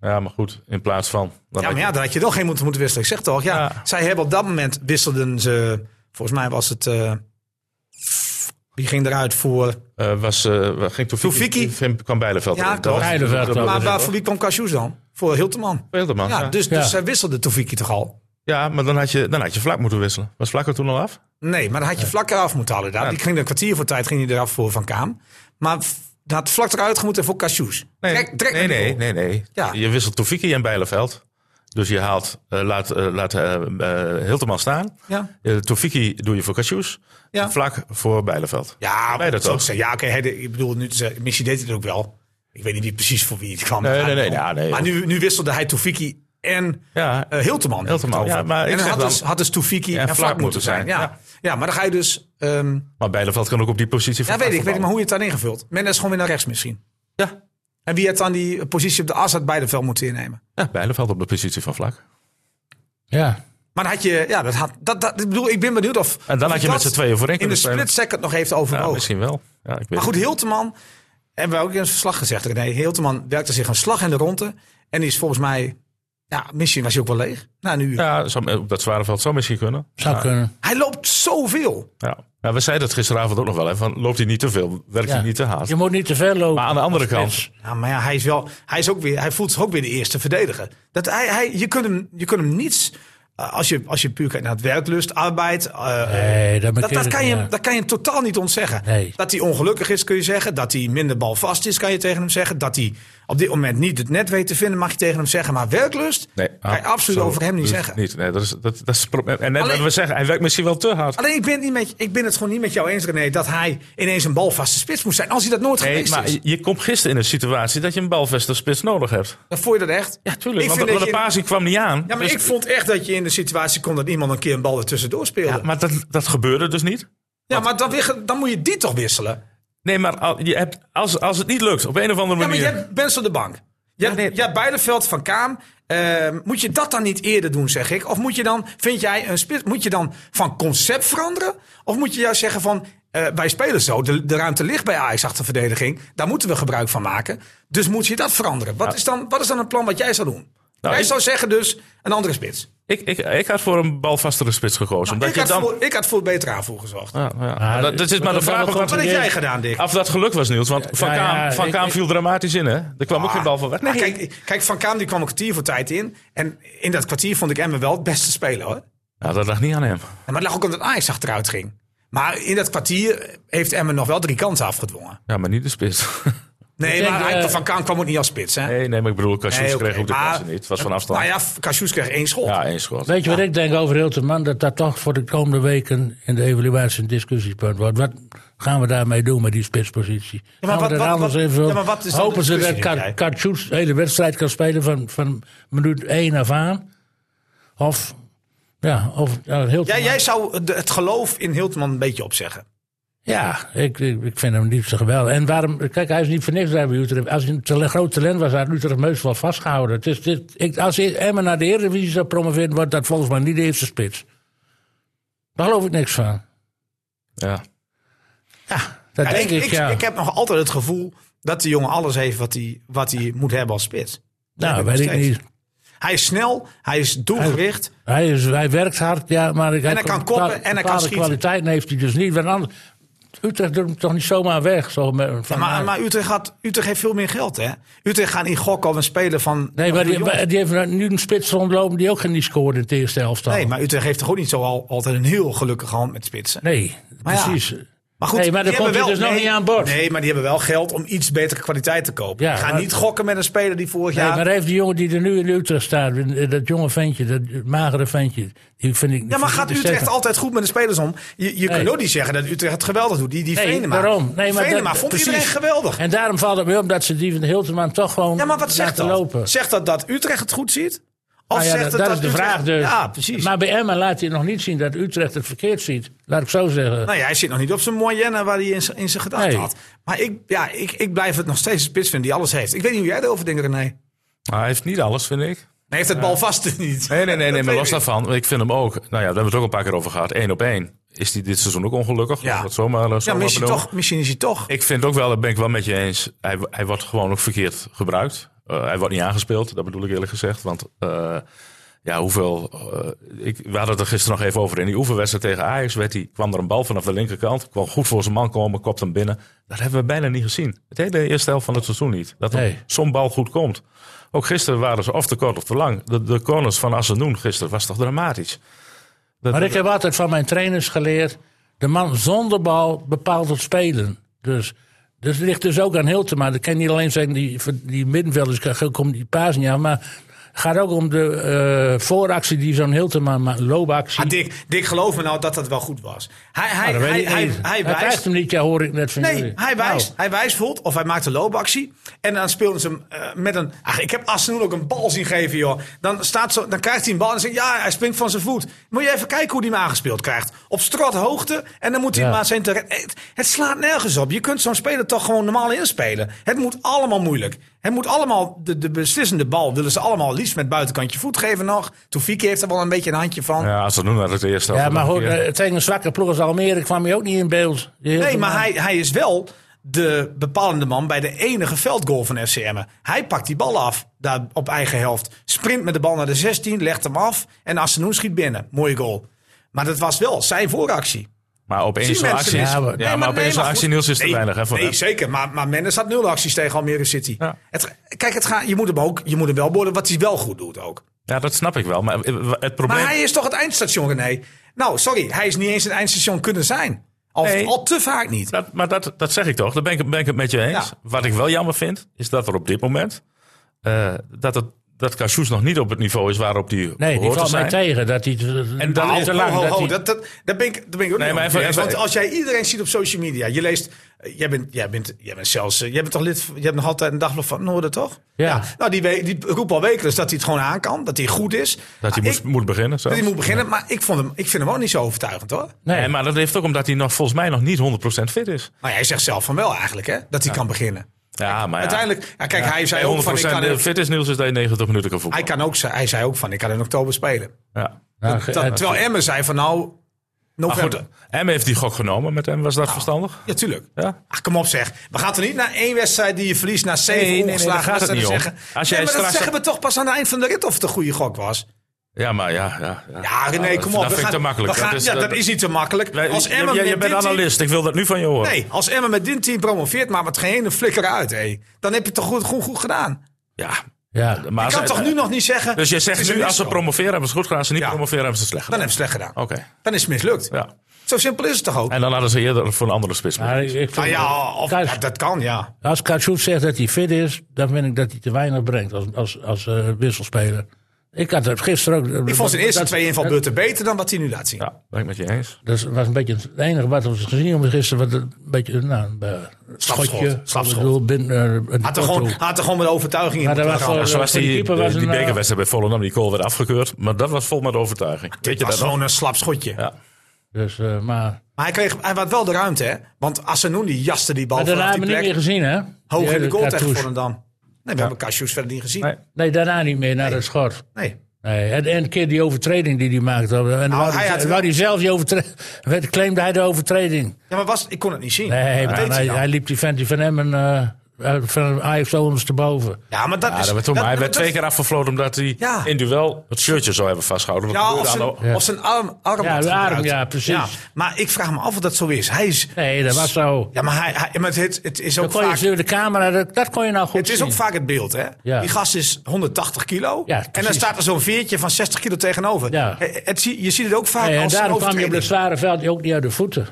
Speaker 5: ja, maar goed, in plaats van... Dan
Speaker 2: Ja,
Speaker 5: had
Speaker 2: maar
Speaker 5: je-
Speaker 2: ja, dan had je toch geen moeten moeten wisselen. Ik zeg toch, ja,
Speaker 5: Ja.
Speaker 2: Zij hebben op dat moment wisselden ze... Volgens mij was het... eh, wie ging eruit voor...
Speaker 5: Eh, was, eh, waar ging
Speaker 2: Taufiki?
Speaker 5: Tofiki? kwam Bijleveld.
Speaker 2: Ja, klopt.
Speaker 1: Bijleveld,
Speaker 5: Dat- dat-
Speaker 1: klopt.
Speaker 2: maar
Speaker 5: dat-
Speaker 2: waar, voor wie kwam Cassius dan? Voor Hilteman.
Speaker 5: Wilderman,
Speaker 2: Ja,
Speaker 5: ja.
Speaker 2: dus, dus
Speaker 1: Ja.
Speaker 2: zij wisselde Tofiki toch al?
Speaker 5: Ja, maar dan had, je, dan had je vlak moeten wisselen. Was Vlakker toen al af?
Speaker 2: Nee, maar dan had je vlak eraf moeten halen. Daar. Die ging er een kwartier voor tijd ging hij eraf voor Van Kaam. Maar f- dat had vlak eruit moeten voor Cassius. Trek- trek
Speaker 5: nee,
Speaker 2: naar die
Speaker 5: nee,
Speaker 2: goal.
Speaker 5: nee, nee.
Speaker 2: Ja.
Speaker 5: Je wisselt Tofiki en Bijleveld. Dus je haalt, eh, laat, eh, laat eh, eh, Hilterman staan.
Speaker 2: Ja,
Speaker 5: Eh, Tofiki doe je voor Cassius.
Speaker 2: Ja.
Speaker 5: Vlak voor Bijleveld.
Speaker 2: ja
Speaker 5: Nee, dat
Speaker 2: zo
Speaker 5: ook.
Speaker 2: te zeggen. Ja, oké, hij de- ik bedoel, nu, te zeggen, misschien deed hij het ook wel. Ik weet niet wie precies voor wie het kwam.
Speaker 5: Nee, nee, nee, ja, nee.
Speaker 2: maar nu, nu wisselde hij Tofiki en
Speaker 5: Ja,
Speaker 2: eh Hilteman.
Speaker 5: Hilterman.
Speaker 2: Over.
Speaker 5: Ja, maar ik
Speaker 2: en
Speaker 5: zeg
Speaker 2: had,
Speaker 5: dan-
Speaker 2: dus, had dus Tofiki en, vlak moeten, zijn. Ja. Ja. maar dan ga je dus... ehm,
Speaker 5: maar Bijleveld kan ook op die positie
Speaker 2: ja, weet ik, weet ik, maar hoe je het dan ingevuld? Men is gewoon weer naar rechts misschien.
Speaker 5: Ja.
Speaker 2: En wie had dan die positie op de as had beide veld moeten innemen?
Speaker 5: Ja, Bijleveld op de positie van Vlak.
Speaker 1: Ja.
Speaker 2: Maar dan had je, ja, dat had, dat, dat, ik bedoel, ik ben benieuwd of.
Speaker 5: En dan
Speaker 2: of
Speaker 5: had je
Speaker 2: dat
Speaker 5: met z'n tweeën voorin
Speaker 2: in de
Speaker 5: kunnen spelen.
Speaker 2: split second nog heeft overwogen.
Speaker 5: Ja, misschien wel. Ja,
Speaker 2: Oh.
Speaker 5: ik weet
Speaker 2: maar
Speaker 5: het.
Speaker 2: goed, Hilteman, hebben we ook in het verslag gezegd, René, Hilteman werkte zich een slag in de ronde. En die is volgens mij, ja, misschien was hij ook wel leeg. Na een uur.
Speaker 5: Ja, zou- eh, op dat zware veld zou misschien kunnen.
Speaker 1: Zou
Speaker 5: ja.
Speaker 1: kunnen.
Speaker 2: Hij loopt zoveel.
Speaker 5: Ja. Ja, we zeiden het gisteravond ook nog wel. Hè, van, loopt hij niet te veel? Werkt
Speaker 1: Ja.
Speaker 5: hij niet te hard?
Speaker 1: Je moet niet te ver lopen.
Speaker 5: Maar aan de andere
Speaker 1: als
Speaker 5: kant.
Speaker 1: spits.
Speaker 2: Ja, Nou, maar ja, hij, is wel, hij, is ook weer, hij voelt zich ook weer de eerste verdediger. Dat hij, hij, je, kunt hem, je kunt hem niets, eh, als je, als je puur kijkt naar het werklust, arbeid, eh,
Speaker 1: Nee, dat,
Speaker 2: Dat, dat, kan je,
Speaker 1: hem.
Speaker 2: dat kan je hem totaal niet ontzeggen.
Speaker 1: Nee.
Speaker 2: Dat hij ongelukkig is, kun je zeggen. Dat hij minder balvast is, kan je tegen hem zeggen. Dat hij op dit moment niet het net weet te vinden, mag je tegen hem zeggen. Maar werklust kan je
Speaker 5: ah,
Speaker 2: absoluut
Speaker 5: zo
Speaker 2: over hem niet
Speaker 5: dus
Speaker 2: zeggen.
Speaker 5: Niet. Nee, dat is, dat, dat is het probleem. En net
Speaker 2: Alleen-
Speaker 5: wat we zeggen, hij werkt misschien wel te hard.
Speaker 2: Alleen ik ben, het niet met, ik ben het gewoon niet met jou eens, René, dat hij ineens een balvaste spits moest zijn. Als hij dat nooit
Speaker 5: Nee,
Speaker 2: geweest
Speaker 5: maar
Speaker 2: is.
Speaker 5: je- je komt gisteren in een situatie dat je een balvestigspits spits nodig hebt.
Speaker 2: Dan vond je dat echt.
Speaker 5: Ja, tuurlijk.
Speaker 2: Ik
Speaker 5: want
Speaker 2: vind
Speaker 5: want
Speaker 2: dat
Speaker 5: de
Speaker 2: je-
Speaker 5: Pasie kwam niet aan.
Speaker 2: Ja, maar
Speaker 5: Dus-
Speaker 2: ik vond echt dat je in de situatie komt dat iemand een keer een bal er tussendoor speelde. Ja,
Speaker 5: Ja,
Speaker 2: maar,
Speaker 5: maar dat, dat gebeurde dus niet.
Speaker 2: dan, weer- dan moet je die toch wisselen.
Speaker 5: Nee, maar al- je hebt, als, als het niet lukt, op een of andere
Speaker 2: Ja, maar
Speaker 5: manier.
Speaker 2: je hebt mensen op de bank. Je hebt,
Speaker 5: nee.
Speaker 2: je hebt Bijleveld van Kaam. Eh, moet je dat dan niet eerder doen, zeg ik? Of moet je dan, vind jij een spits, moet je dan van concept veranderen? Of moet je juist zeggen van, eh, wij spelen zo, de, de ruimte ligt bij Ajax achter verdediging. Daar moeten we gebruik van maken. Dus moet je dat veranderen? Wat, is, dan, wat is dan een plan wat jij zou doen?
Speaker 5: Nou,
Speaker 2: jij
Speaker 5: ik-
Speaker 2: zou zeggen dus, een andere spits.
Speaker 5: Ik, ik, ik had voor een balvastere spits gekozen.
Speaker 2: Ik
Speaker 5: omdat je
Speaker 2: had,
Speaker 5: dan...
Speaker 2: voor, ik had voor beter aanvoer gezorgd.
Speaker 5: Ja, ja. Maar dat, dat is maar de
Speaker 1: dat-
Speaker 5: vraag
Speaker 1: dat
Speaker 5: of dat,
Speaker 2: Wat heb
Speaker 1: Probeer-
Speaker 2: jij gedaan, Dick?
Speaker 5: of dat geluk was, Niels. Want Van
Speaker 1: ja,
Speaker 5: Kaam,
Speaker 1: ja,
Speaker 5: van
Speaker 1: ik-
Speaker 5: Kaam
Speaker 1: ik-
Speaker 5: viel dramatisch in, hè? Er kwam ook geen bal van weg.
Speaker 2: Ah,
Speaker 5: Nee,
Speaker 2: Kijk, kijk, Van Kaam die kwam een kwartier voor tijd in. En in dat kwartier vond ik Emmen wel het beste speler, hoor.
Speaker 5: Nou, dat lag niet aan hem.
Speaker 2: Ja, maar het lag ook omdat Ajax achteruit ging. Maar in dat kwartier heeft Emmen nog wel drie kansen afgedwongen.
Speaker 5: Ja, maar niet de spits.
Speaker 2: Nee,
Speaker 1: Ik denk,
Speaker 2: maar hij-
Speaker 1: eh,
Speaker 2: Van Kaan kwam ook niet als spits, hè?
Speaker 5: Nee, nee, maar ik bedoel, Cassius
Speaker 2: Nee, oké,
Speaker 5: kreeg ook de
Speaker 2: maar-
Speaker 5: kansen niet. Het was van afstand.
Speaker 2: Nou ja, Cassius kreeg één schot.
Speaker 5: ja, één schot.
Speaker 1: Weet je wat ik denk over Hilterman? Dat dat toch voor de komende weken in de evaluatie een discussiepunt wordt. Wat gaan we daarmee doen met die spitspositie?
Speaker 2: maar
Speaker 1: gaan
Speaker 2: wat-
Speaker 1: we dat
Speaker 2: wat-
Speaker 1: anders
Speaker 2: wat-
Speaker 1: even
Speaker 2: ja, maar wat is dan de
Speaker 1: Hopen ze dat
Speaker 2: discussie, denk
Speaker 1: Ka-
Speaker 2: jij?
Speaker 1: Katsjoets de hele wedstrijd kan spelen van, van minuut 1 af aan? Of, ja, of ja,
Speaker 2: Jij,
Speaker 1: Hilterman.
Speaker 2: jij zou de- het geloof in Hiltman een beetje opzeggen.
Speaker 1: Ja, ik, ik, ik vind hem liefst geweldig. En waarom, kijk, hij is niet voor niks daar bij Utrecht. Als hij een tele- groot talent was, had Utrecht Meus wel vastgehouden. Het is, dit, ik, als hij Emmen naar de Eredivisie zou promoveren, wordt dat volgens mij niet de eerste spits. Daar geloof ik niks van.
Speaker 5: Ja.
Speaker 1: Dat
Speaker 2: Ja,
Speaker 1: denk ik, ja.
Speaker 2: ik heb nog altijd het gevoel dat die jongen alles heeft wat hij, wat hij moet hebben als spits.
Speaker 1: nou,
Speaker 2: heb ik
Speaker 1: weet ik
Speaker 2: nog
Speaker 1: niet.
Speaker 2: Hij is snel, hij is doelgericht.
Speaker 1: Hij, is, hij werkt hard, ja, maar... Ik, en
Speaker 2: hij kan koppen en hij kan schieten.
Speaker 1: kwaliteiten heeft hij dus niet. Want anders, Utrecht doet hem toch niet zomaar weg. Zo met, van
Speaker 2: Maar,
Speaker 1: Ajax.
Speaker 2: maar Utrecht, had, Utrecht heeft veel meer geld, hè? Utrecht gaan in gokken op een speler van...
Speaker 1: nee, maar die,
Speaker 2: van jongens.
Speaker 1: maar die heeft nu een spits rondlopen die ook geen die scoorde in het eerste helft. al.
Speaker 2: Nee, maar Utrecht heeft toch ook niet zo al, altijd een heel gelukkige hand met spitsen?
Speaker 1: Nee,
Speaker 2: Maar ja.
Speaker 1: precies.
Speaker 2: Maar goed,
Speaker 1: Nee, maar
Speaker 2: die
Speaker 1: daar komt
Speaker 2: hebben
Speaker 1: hij dus nog
Speaker 2: nee,
Speaker 1: niet aan boord.
Speaker 2: Nee, maar die hebben wel geld om iets betere kwaliteit te kopen.
Speaker 1: Ja,
Speaker 2: Ga
Speaker 1: maar-
Speaker 2: niet gokken met een speler die vorig
Speaker 1: Nee,
Speaker 2: jaar...
Speaker 1: maar even die jongen die er nu in Utrecht staat, eh, dat jonge ventje, dat magere ventje, die vind ik.
Speaker 2: ja, maar gaat
Speaker 1: vind ik
Speaker 2: Utrecht
Speaker 1: de sterke.
Speaker 2: altijd goed met de spelers om? Je, je
Speaker 1: dus Nee.
Speaker 2: kunt ook niet zeggen dat Utrecht het geweldig doet. Die, die
Speaker 1: Nee,
Speaker 2: Venema,
Speaker 1: daarom. Nee, maar
Speaker 2: Venema
Speaker 1: dat-
Speaker 2: vond
Speaker 1: precies.
Speaker 2: iedereen geweldig.
Speaker 1: En daarom valt het me op dat ze die van Hilterman toch gewoon
Speaker 2: Ja, maar wat zegt
Speaker 1: laten
Speaker 2: dat?
Speaker 1: lopen.
Speaker 2: Zegt dat dat Utrecht het goed ziet? Of
Speaker 1: Nou ja,
Speaker 2: zegt
Speaker 1: dat,
Speaker 2: het
Speaker 1: dat is de
Speaker 2: Utrecht-
Speaker 1: vraag dus.
Speaker 2: Ja, precies.
Speaker 1: Maar bij Emma laat hij nog niet zien dat Utrecht het verkeerd ziet. Laat ik zo zeggen.
Speaker 2: Nou ja, hij zit nog niet op zijn moyenne waar hij in zijn- in zijn gedachten
Speaker 1: Nee.
Speaker 2: had. Maar ik, ja, ik, ik blijf het nog steeds een spits vinden die alles heeft. Ik weet niet hoe jij erover denkt, René. Nee,
Speaker 5: Maar hij heeft niet alles, vind ik.
Speaker 2: hij heeft het bal vast niet.
Speaker 5: Nee, nee, nee, nee
Speaker 2: Dat
Speaker 5: maar
Speaker 2: weet
Speaker 5: los
Speaker 2: ik.
Speaker 5: daarvan. Ik vind hem ook. Nou ja, daar hebben we het ook een paar keer over gehad. Eén op één. Is hij dit seizoen ook ongelukkig?
Speaker 2: Ja.
Speaker 5: Laat ik Dat zomaar, eh,
Speaker 2: Ja,
Speaker 5: zomaar
Speaker 2: misschien,
Speaker 5: benoemen.
Speaker 2: toch, misschien is hij toch.
Speaker 5: Ik vind ook wel, daar ben ik wel met je eens. Hij, hij wordt gewoon ook verkeerd gebruikt. Eh, hij wordt niet aangespeeld, dat bedoel ik eerlijk gezegd. Want eh, ja, hoeveel. eh, ik, we hadden het er gisteren nog even over. In die oefenwedstrijd tegen Ajax werd hij, kwam er een bal vanaf de linkerkant. Kwam goed voor zijn man komen, kopt hem binnen. Dat hebben we bijna niet gezien. Het hele eerste helft van het seizoen niet. Dat er
Speaker 1: Nee.
Speaker 5: zo'n bal goed komt. Ook gisteren waren ze of te kort of te lang. De, de corners van Assenoen gisteren was toch dramatisch. Dat-
Speaker 1: Maar ik heb altijd van mijn trainers geleerd: de man zonder bal bepaalt het spelen. Dus dat ligt dus ook aan Hiltema. Dat kan niet alleen zijn die, die middenvelders, kan- komt die paas niet aan. Maar het gaat ook om de eh, vooractie die zo'n Hiltema maakt, loopactie.
Speaker 2: Ah, Dick, Dick, geloof me nou dat dat wel goed was. Hij, hij,
Speaker 1: Nou, dat
Speaker 2: hij,
Speaker 1: weet ik
Speaker 2: hij,
Speaker 1: niet.
Speaker 2: hij
Speaker 1: krijgt
Speaker 2: wijst.
Speaker 1: hem niet, ja, hoor ik net van
Speaker 2: Nee,
Speaker 1: jullie.
Speaker 2: hij
Speaker 1: Nou,
Speaker 2: wijst. Hij wijst bijvoorbeeld, of hij maakt een loopactie. En dan speelden ze hem eh, met een... Ach, ik heb Asenoen ook een bal zien geven, joh. Dan, staat zo, dan krijgt hij een bal en zegt, ja, hij springt van zijn voet. Moet je even kijken hoe hij hem aangespeeld krijgt. Op hoogte en dan moet hij
Speaker 1: Ja.
Speaker 2: maar zijn... terre- Het, het slaat nergens op. Je kunt zo'n speler toch gewoon normaal inspelen. Het moet allemaal moeilijk. Het moet allemaal... De, de beslissende bal willen ze allemaal liefst met buitenkantje voet geven nog. Toefiki heeft er wel een beetje een handje van.
Speaker 5: ja, Assenoen had het eerste
Speaker 1: ja,
Speaker 5: helft
Speaker 1: maar
Speaker 5: nog
Speaker 1: hoor,
Speaker 5: een keer.
Speaker 1: eh, tegen een zwakke ploeg als Almere kwam hij ook niet in beeld. Die
Speaker 2: Nee,
Speaker 1: Hiltema.
Speaker 2: maar hij, hij is wel de bepalende man bij de enige veldgoal van FCM. Hij pakt die bal af daar op eigen helft. Sprint met de bal naar de 16, legt hem af. En Assenoen schiet binnen. Mooie goal. Maar dat was wel zijn vooractie.
Speaker 5: Maar op één
Speaker 2: Zien
Speaker 5: zo'n
Speaker 2: mensen
Speaker 5: actie.
Speaker 1: niet.
Speaker 5: Ja,
Speaker 1: Ja,
Speaker 5: maar,
Speaker 1: maar-
Speaker 2: Nee,
Speaker 5: op één
Speaker 2: nee,
Speaker 5: zo'n
Speaker 2: maar
Speaker 5: actie,
Speaker 2: goed.
Speaker 5: Niels, is te
Speaker 2: Nee,
Speaker 5: weinig. Hè, voor
Speaker 2: nee,
Speaker 5: hem.
Speaker 2: zeker. Maar, maar Mendes had nul acties tegen Almere City.
Speaker 5: Ja.
Speaker 2: Het, kijk, het gaat, je, moet hem ook, je moet hem wel worden wat hij wel goed doet ook.
Speaker 5: Ja, dat snap ik wel. Maar eh, het probleem.
Speaker 2: Maar hij is toch het eindstation, René? Nou, sorry. Hij is niet eens het eindstation kunnen zijn. Al,
Speaker 5: Nee.
Speaker 2: al te vaak niet.
Speaker 5: dat, maar dat, dat zeg ik toch. Daar ben ik, ben ik het met je eens.
Speaker 2: Ja.
Speaker 5: Wat ik wel jammer vind, is dat er op dit moment. eh, dat het, dat Cassius nog niet op het niveau is waarop die
Speaker 1: Nee, die
Speaker 5: hoort te
Speaker 1: valt mij
Speaker 5: zijn.
Speaker 1: tegen. Dat hij, en
Speaker 5: dan
Speaker 2: Ho,
Speaker 5: is
Speaker 1: te
Speaker 5: er
Speaker 2: ho,
Speaker 1: lang.
Speaker 2: ho,
Speaker 1: dat
Speaker 2: ho,
Speaker 1: hij-
Speaker 2: dat, dat, dat ben ik, dat ben ik ook
Speaker 5: Nee,
Speaker 2: niet mee
Speaker 5: maar even-
Speaker 2: eens.
Speaker 5: even-
Speaker 2: Want als jij iedereen ziet op social media, je leest... eh, Jij bent, jij bent, jij bent zelfs... eh, Jij bent toch lid... van- Jij hebt nog altijd een dagblad van Noorden, toch?
Speaker 1: Ja.
Speaker 2: Nou, die, we- die roept al wekelijks dat hij het gewoon aan kan. Dat hij goed is.
Speaker 5: Dat hij
Speaker 2: Maar
Speaker 5: moet,
Speaker 2: Ah, ik-
Speaker 5: moet beginnen. Zo.
Speaker 2: dat hij moet beginnen. Maar ik, vond hem, ik vind hem ook niet zo overtuigend, hoor.
Speaker 1: nee.
Speaker 5: Nee, maar dat heeft ook omdat hij nog, volgens mij nog niet 100% fit is.
Speaker 2: Maar jij zegt zelf van wel eigenlijk, hè? Dat hij kan beginnen.
Speaker 5: Ja, maar ja,
Speaker 2: Uiteindelijk... Ja, kijk, hij zei ook van... Ik
Speaker 5: 100%
Speaker 2: kan, in-
Speaker 5: fit is Niels is dat je 90 minuten kan
Speaker 2: hij,
Speaker 5: voetballen.
Speaker 2: kan ook, ze- hij zei ook van, ik kan in oktober spelen.
Speaker 5: Ja.
Speaker 1: Nou,
Speaker 2: Dat-
Speaker 1: eh,
Speaker 2: terwijl Emmen zei van, nou...
Speaker 5: Maar goed,
Speaker 2: November.
Speaker 5: Em heeft die gok genomen met hem. Was
Speaker 2: Nou.
Speaker 5: dat verstandig?
Speaker 2: Ja, tuurlijk.
Speaker 5: Ja.
Speaker 2: Ach, kom op zeg. We gaan er niet naar één wedstrijd die je verliest na zeven
Speaker 5: Nee, nee, nee,
Speaker 2: ongeslagen
Speaker 5: daar gaat het
Speaker 2: wedstrijden
Speaker 5: niet om.
Speaker 2: zeggen.
Speaker 5: Als
Speaker 2: nee,
Speaker 5: jij
Speaker 2: maar dat
Speaker 5: straks-
Speaker 2: zeggen we toch pas aan het eind van de rit of het een goede gok was.
Speaker 5: Ja, maar ja. Ja,
Speaker 2: Ja, René,
Speaker 5: Nou, dat-
Speaker 2: kom op. we
Speaker 5: Dat vind ik
Speaker 2: gaan-
Speaker 5: te makkelijk.
Speaker 2: we gaan- ja, dat is niet te makkelijk.
Speaker 5: Wij-
Speaker 2: als
Speaker 5: je-
Speaker 2: Emma
Speaker 5: je, je
Speaker 2: met
Speaker 5: bent
Speaker 2: dit team-
Speaker 5: analist, ik wil dat nu van je horen.
Speaker 2: Nee, als Emma met dit team promoveert, maar met geen ene flikker uit, hé. Dan heb je het toch goed, goed, goed gedaan.
Speaker 5: Ja,
Speaker 1: ja.
Speaker 5: maar
Speaker 2: Je
Speaker 5: als-
Speaker 2: kan toch nu nog niet zeggen...
Speaker 5: Dus je
Speaker 2: het
Speaker 5: zegt
Speaker 2: is een
Speaker 5: nu, als ze
Speaker 2: misloop.
Speaker 5: promoveren hebben ze het goed gedaan. Als ze niet
Speaker 2: Ja.
Speaker 5: promoveren hebben ze het slecht
Speaker 2: Dan
Speaker 5: gedaan.
Speaker 2: hebben ze het slecht gedaan.
Speaker 5: Oké,
Speaker 2: Dan is het mislukt.
Speaker 5: ja.
Speaker 2: Zo simpel is het toch ook?
Speaker 5: En dan hadden ze eerder voor een andere spits moeten
Speaker 1: Maar ik-
Speaker 5: kiezen.
Speaker 1: ik vind-
Speaker 2: Nou ja, of,
Speaker 1: Thuis-
Speaker 2: ja, dat kan, ja.
Speaker 1: Als Katsjoef zegt dat hij fit is, dan vind ik dat hij te weinig brengt als, als, als eh, wisselspeler. Ik had het gisteren ook.
Speaker 2: Ik vond zijn eerste
Speaker 1: dat-
Speaker 2: twee invalbeurten beter dan wat hij nu laat zien.
Speaker 5: Ja, ben ik met je eens.
Speaker 1: Dat was een beetje het enige wat we gezien hebben gisteren. Wat een beetje, nou, een eh,
Speaker 2: Slapschot,
Speaker 1: schotje.
Speaker 2: slapschot.
Speaker 1: Ik bedoel, bin, eh, een
Speaker 2: Had er gewoon,
Speaker 1: korthoek.
Speaker 2: had er gewoon met overtuiging in
Speaker 1: Maar dat
Speaker 2: moeten
Speaker 1: was
Speaker 2: gaan.
Speaker 1: wel-
Speaker 5: Nou, zoals
Speaker 1: voor de
Speaker 5: die,
Speaker 1: keeper was
Speaker 5: die, die
Speaker 1: een, eh,
Speaker 5: bekerwedstrijd bij Volendam, die goal werd afgekeurd. Maar dat was vol met overtuiging. Weet
Speaker 2: Dit
Speaker 5: je
Speaker 2: was
Speaker 5: dat nog?
Speaker 2: gewoon een slap schotje.
Speaker 5: Ja.
Speaker 1: Dus, eh, maar,
Speaker 2: Maar hij, kreeg, hij had wel de ruimte, hè? Want Assenoen die jaste die bal
Speaker 1: maar daarna
Speaker 2: vanaf die
Speaker 1: hebben we niet meer gezien,
Speaker 2: plek.
Speaker 1: hè? Die
Speaker 2: Hoog in de
Speaker 1: hele
Speaker 2: goal tegen
Speaker 1: Katsjoef.
Speaker 2: Volendam. Nee, we hebben Cassius verder niet gezien.
Speaker 5: Nee.
Speaker 2: Nee.
Speaker 1: Nee, daarna niet meer, naar de schort. Nee, en, en een keer die overtreding die hij maakte. En wou
Speaker 2: Nou, hij
Speaker 1: hij,
Speaker 2: had-
Speaker 1: wou hij zelf die overtreding. claimde hij de overtreding.
Speaker 2: Ja, maar was, ik kon het niet zien.
Speaker 1: Nee,
Speaker 2: Wat
Speaker 1: maar
Speaker 2: deed
Speaker 1: hij,
Speaker 2: dan?
Speaker 1: hij liep die vent die van hem en eh, eh, van Ajax ondersteboven.
Speaker 2: Ja, maar dat
Speaker 5: Ja,
Speaker 2: is...
Speaker 5: dat werd toen,
Speaker 2: dat-
Speaker 5: maar hij werd
Speaker 2: dat-
Speaker 5: twee keer afgefloten omdat hij
Speaker 2: Ja.
Speaker 5: in duel het shirtje zou hebben vastgehouden. Dat
Speaker 2: Ja,
Speaker 5: gebeurde
Speaker 2: of zijn,
Speaker 5: aan de-
Speaker 2: of zijn arm, arm
Speaker 1: Ja,
Speaker 2: had
Speaker 1: de arm,
Speaker 2: gebruikt.
Speaker 1: ja, precies.
Speaker 2: Maar ik vraag me af of dat zo is. Hij is...
Speaker 1: Nee, dat was zo.
Speaker 2: Ja, maar, hij, hij, maar het, het is
Speaker 1: Dan
Speaker 2: ook
Speaker 1: kon je
Speaker 2: vaak...
Speaker 1: door de camera, dat, dat kon je nou goed
Speaker 2: Het is
Speaker 1: zien.
Speaker 2: ook vaak het beeld, hè?
Speaker 1: Ja.
Speaker 2: Die gast is 180 kilo.
Speaker 1: Ja,
Speaker 2: en dan
Speaker 1: precies.
Speaker 2: staat er zo'n veertje van 60 kilo tegenover. Eh,
Speaker 1: Ja.
Speaker 2: Het, het zie- je ziet het ook vaak
Speaker 1: Nee, en
Speaker 2: als een
Speaker 1: daarom kwam je op
Speaker 2: overtreding.
Speaker 1: het zware veld ook niet uit de voeten.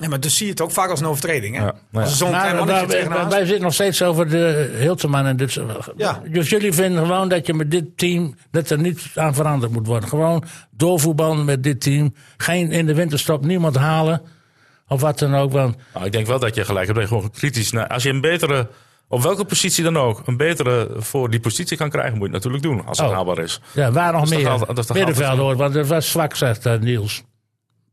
Speaker 2: Ja, maar dus zie je het ook vaak als een overtreding. Hè?
Speaker 5: Ja, nou ja.
Speaker 2: Als er zo'n klein
Speaker 1: Maar,
Speaker 2: mannetje
Speaker 1: maar,
Speaker 2: tegen
Speaker 1: wij-
Speaker 2: haar
Speaker 1: wij zitten nog steeds over de Hilteman en dit soort-
Speaker 2: Ja.
Speaker 1: Dus jullie vinden gewoon dat je met dit team, dat er niets aan veranderd moet worden. Gewoon doorvoetballen met dit team. Geen in de winterstop niemand halen. Of wat dan ook. Want
Speaker 5: Nou, ik denk wel dat je gelijk hebt. dat je Gewoon kritisch. naar- als je een betere, op welke positie dan ook, een betere voor die positie kan krijgen, moet je het natuurlijk doen. Als het
Speaker 1: Oh.
Speaker 5: haalbaar is.
Speaker 1: ja, waar nog
Speaker 5: is toch
Speaker 1: meer?
Speaker 5: altijd- dat is toch
Speaker 1: Middenveld
Speaker 5: altijd-
Speaker 1: hoor, want het was zwak, zegt eh, Niels.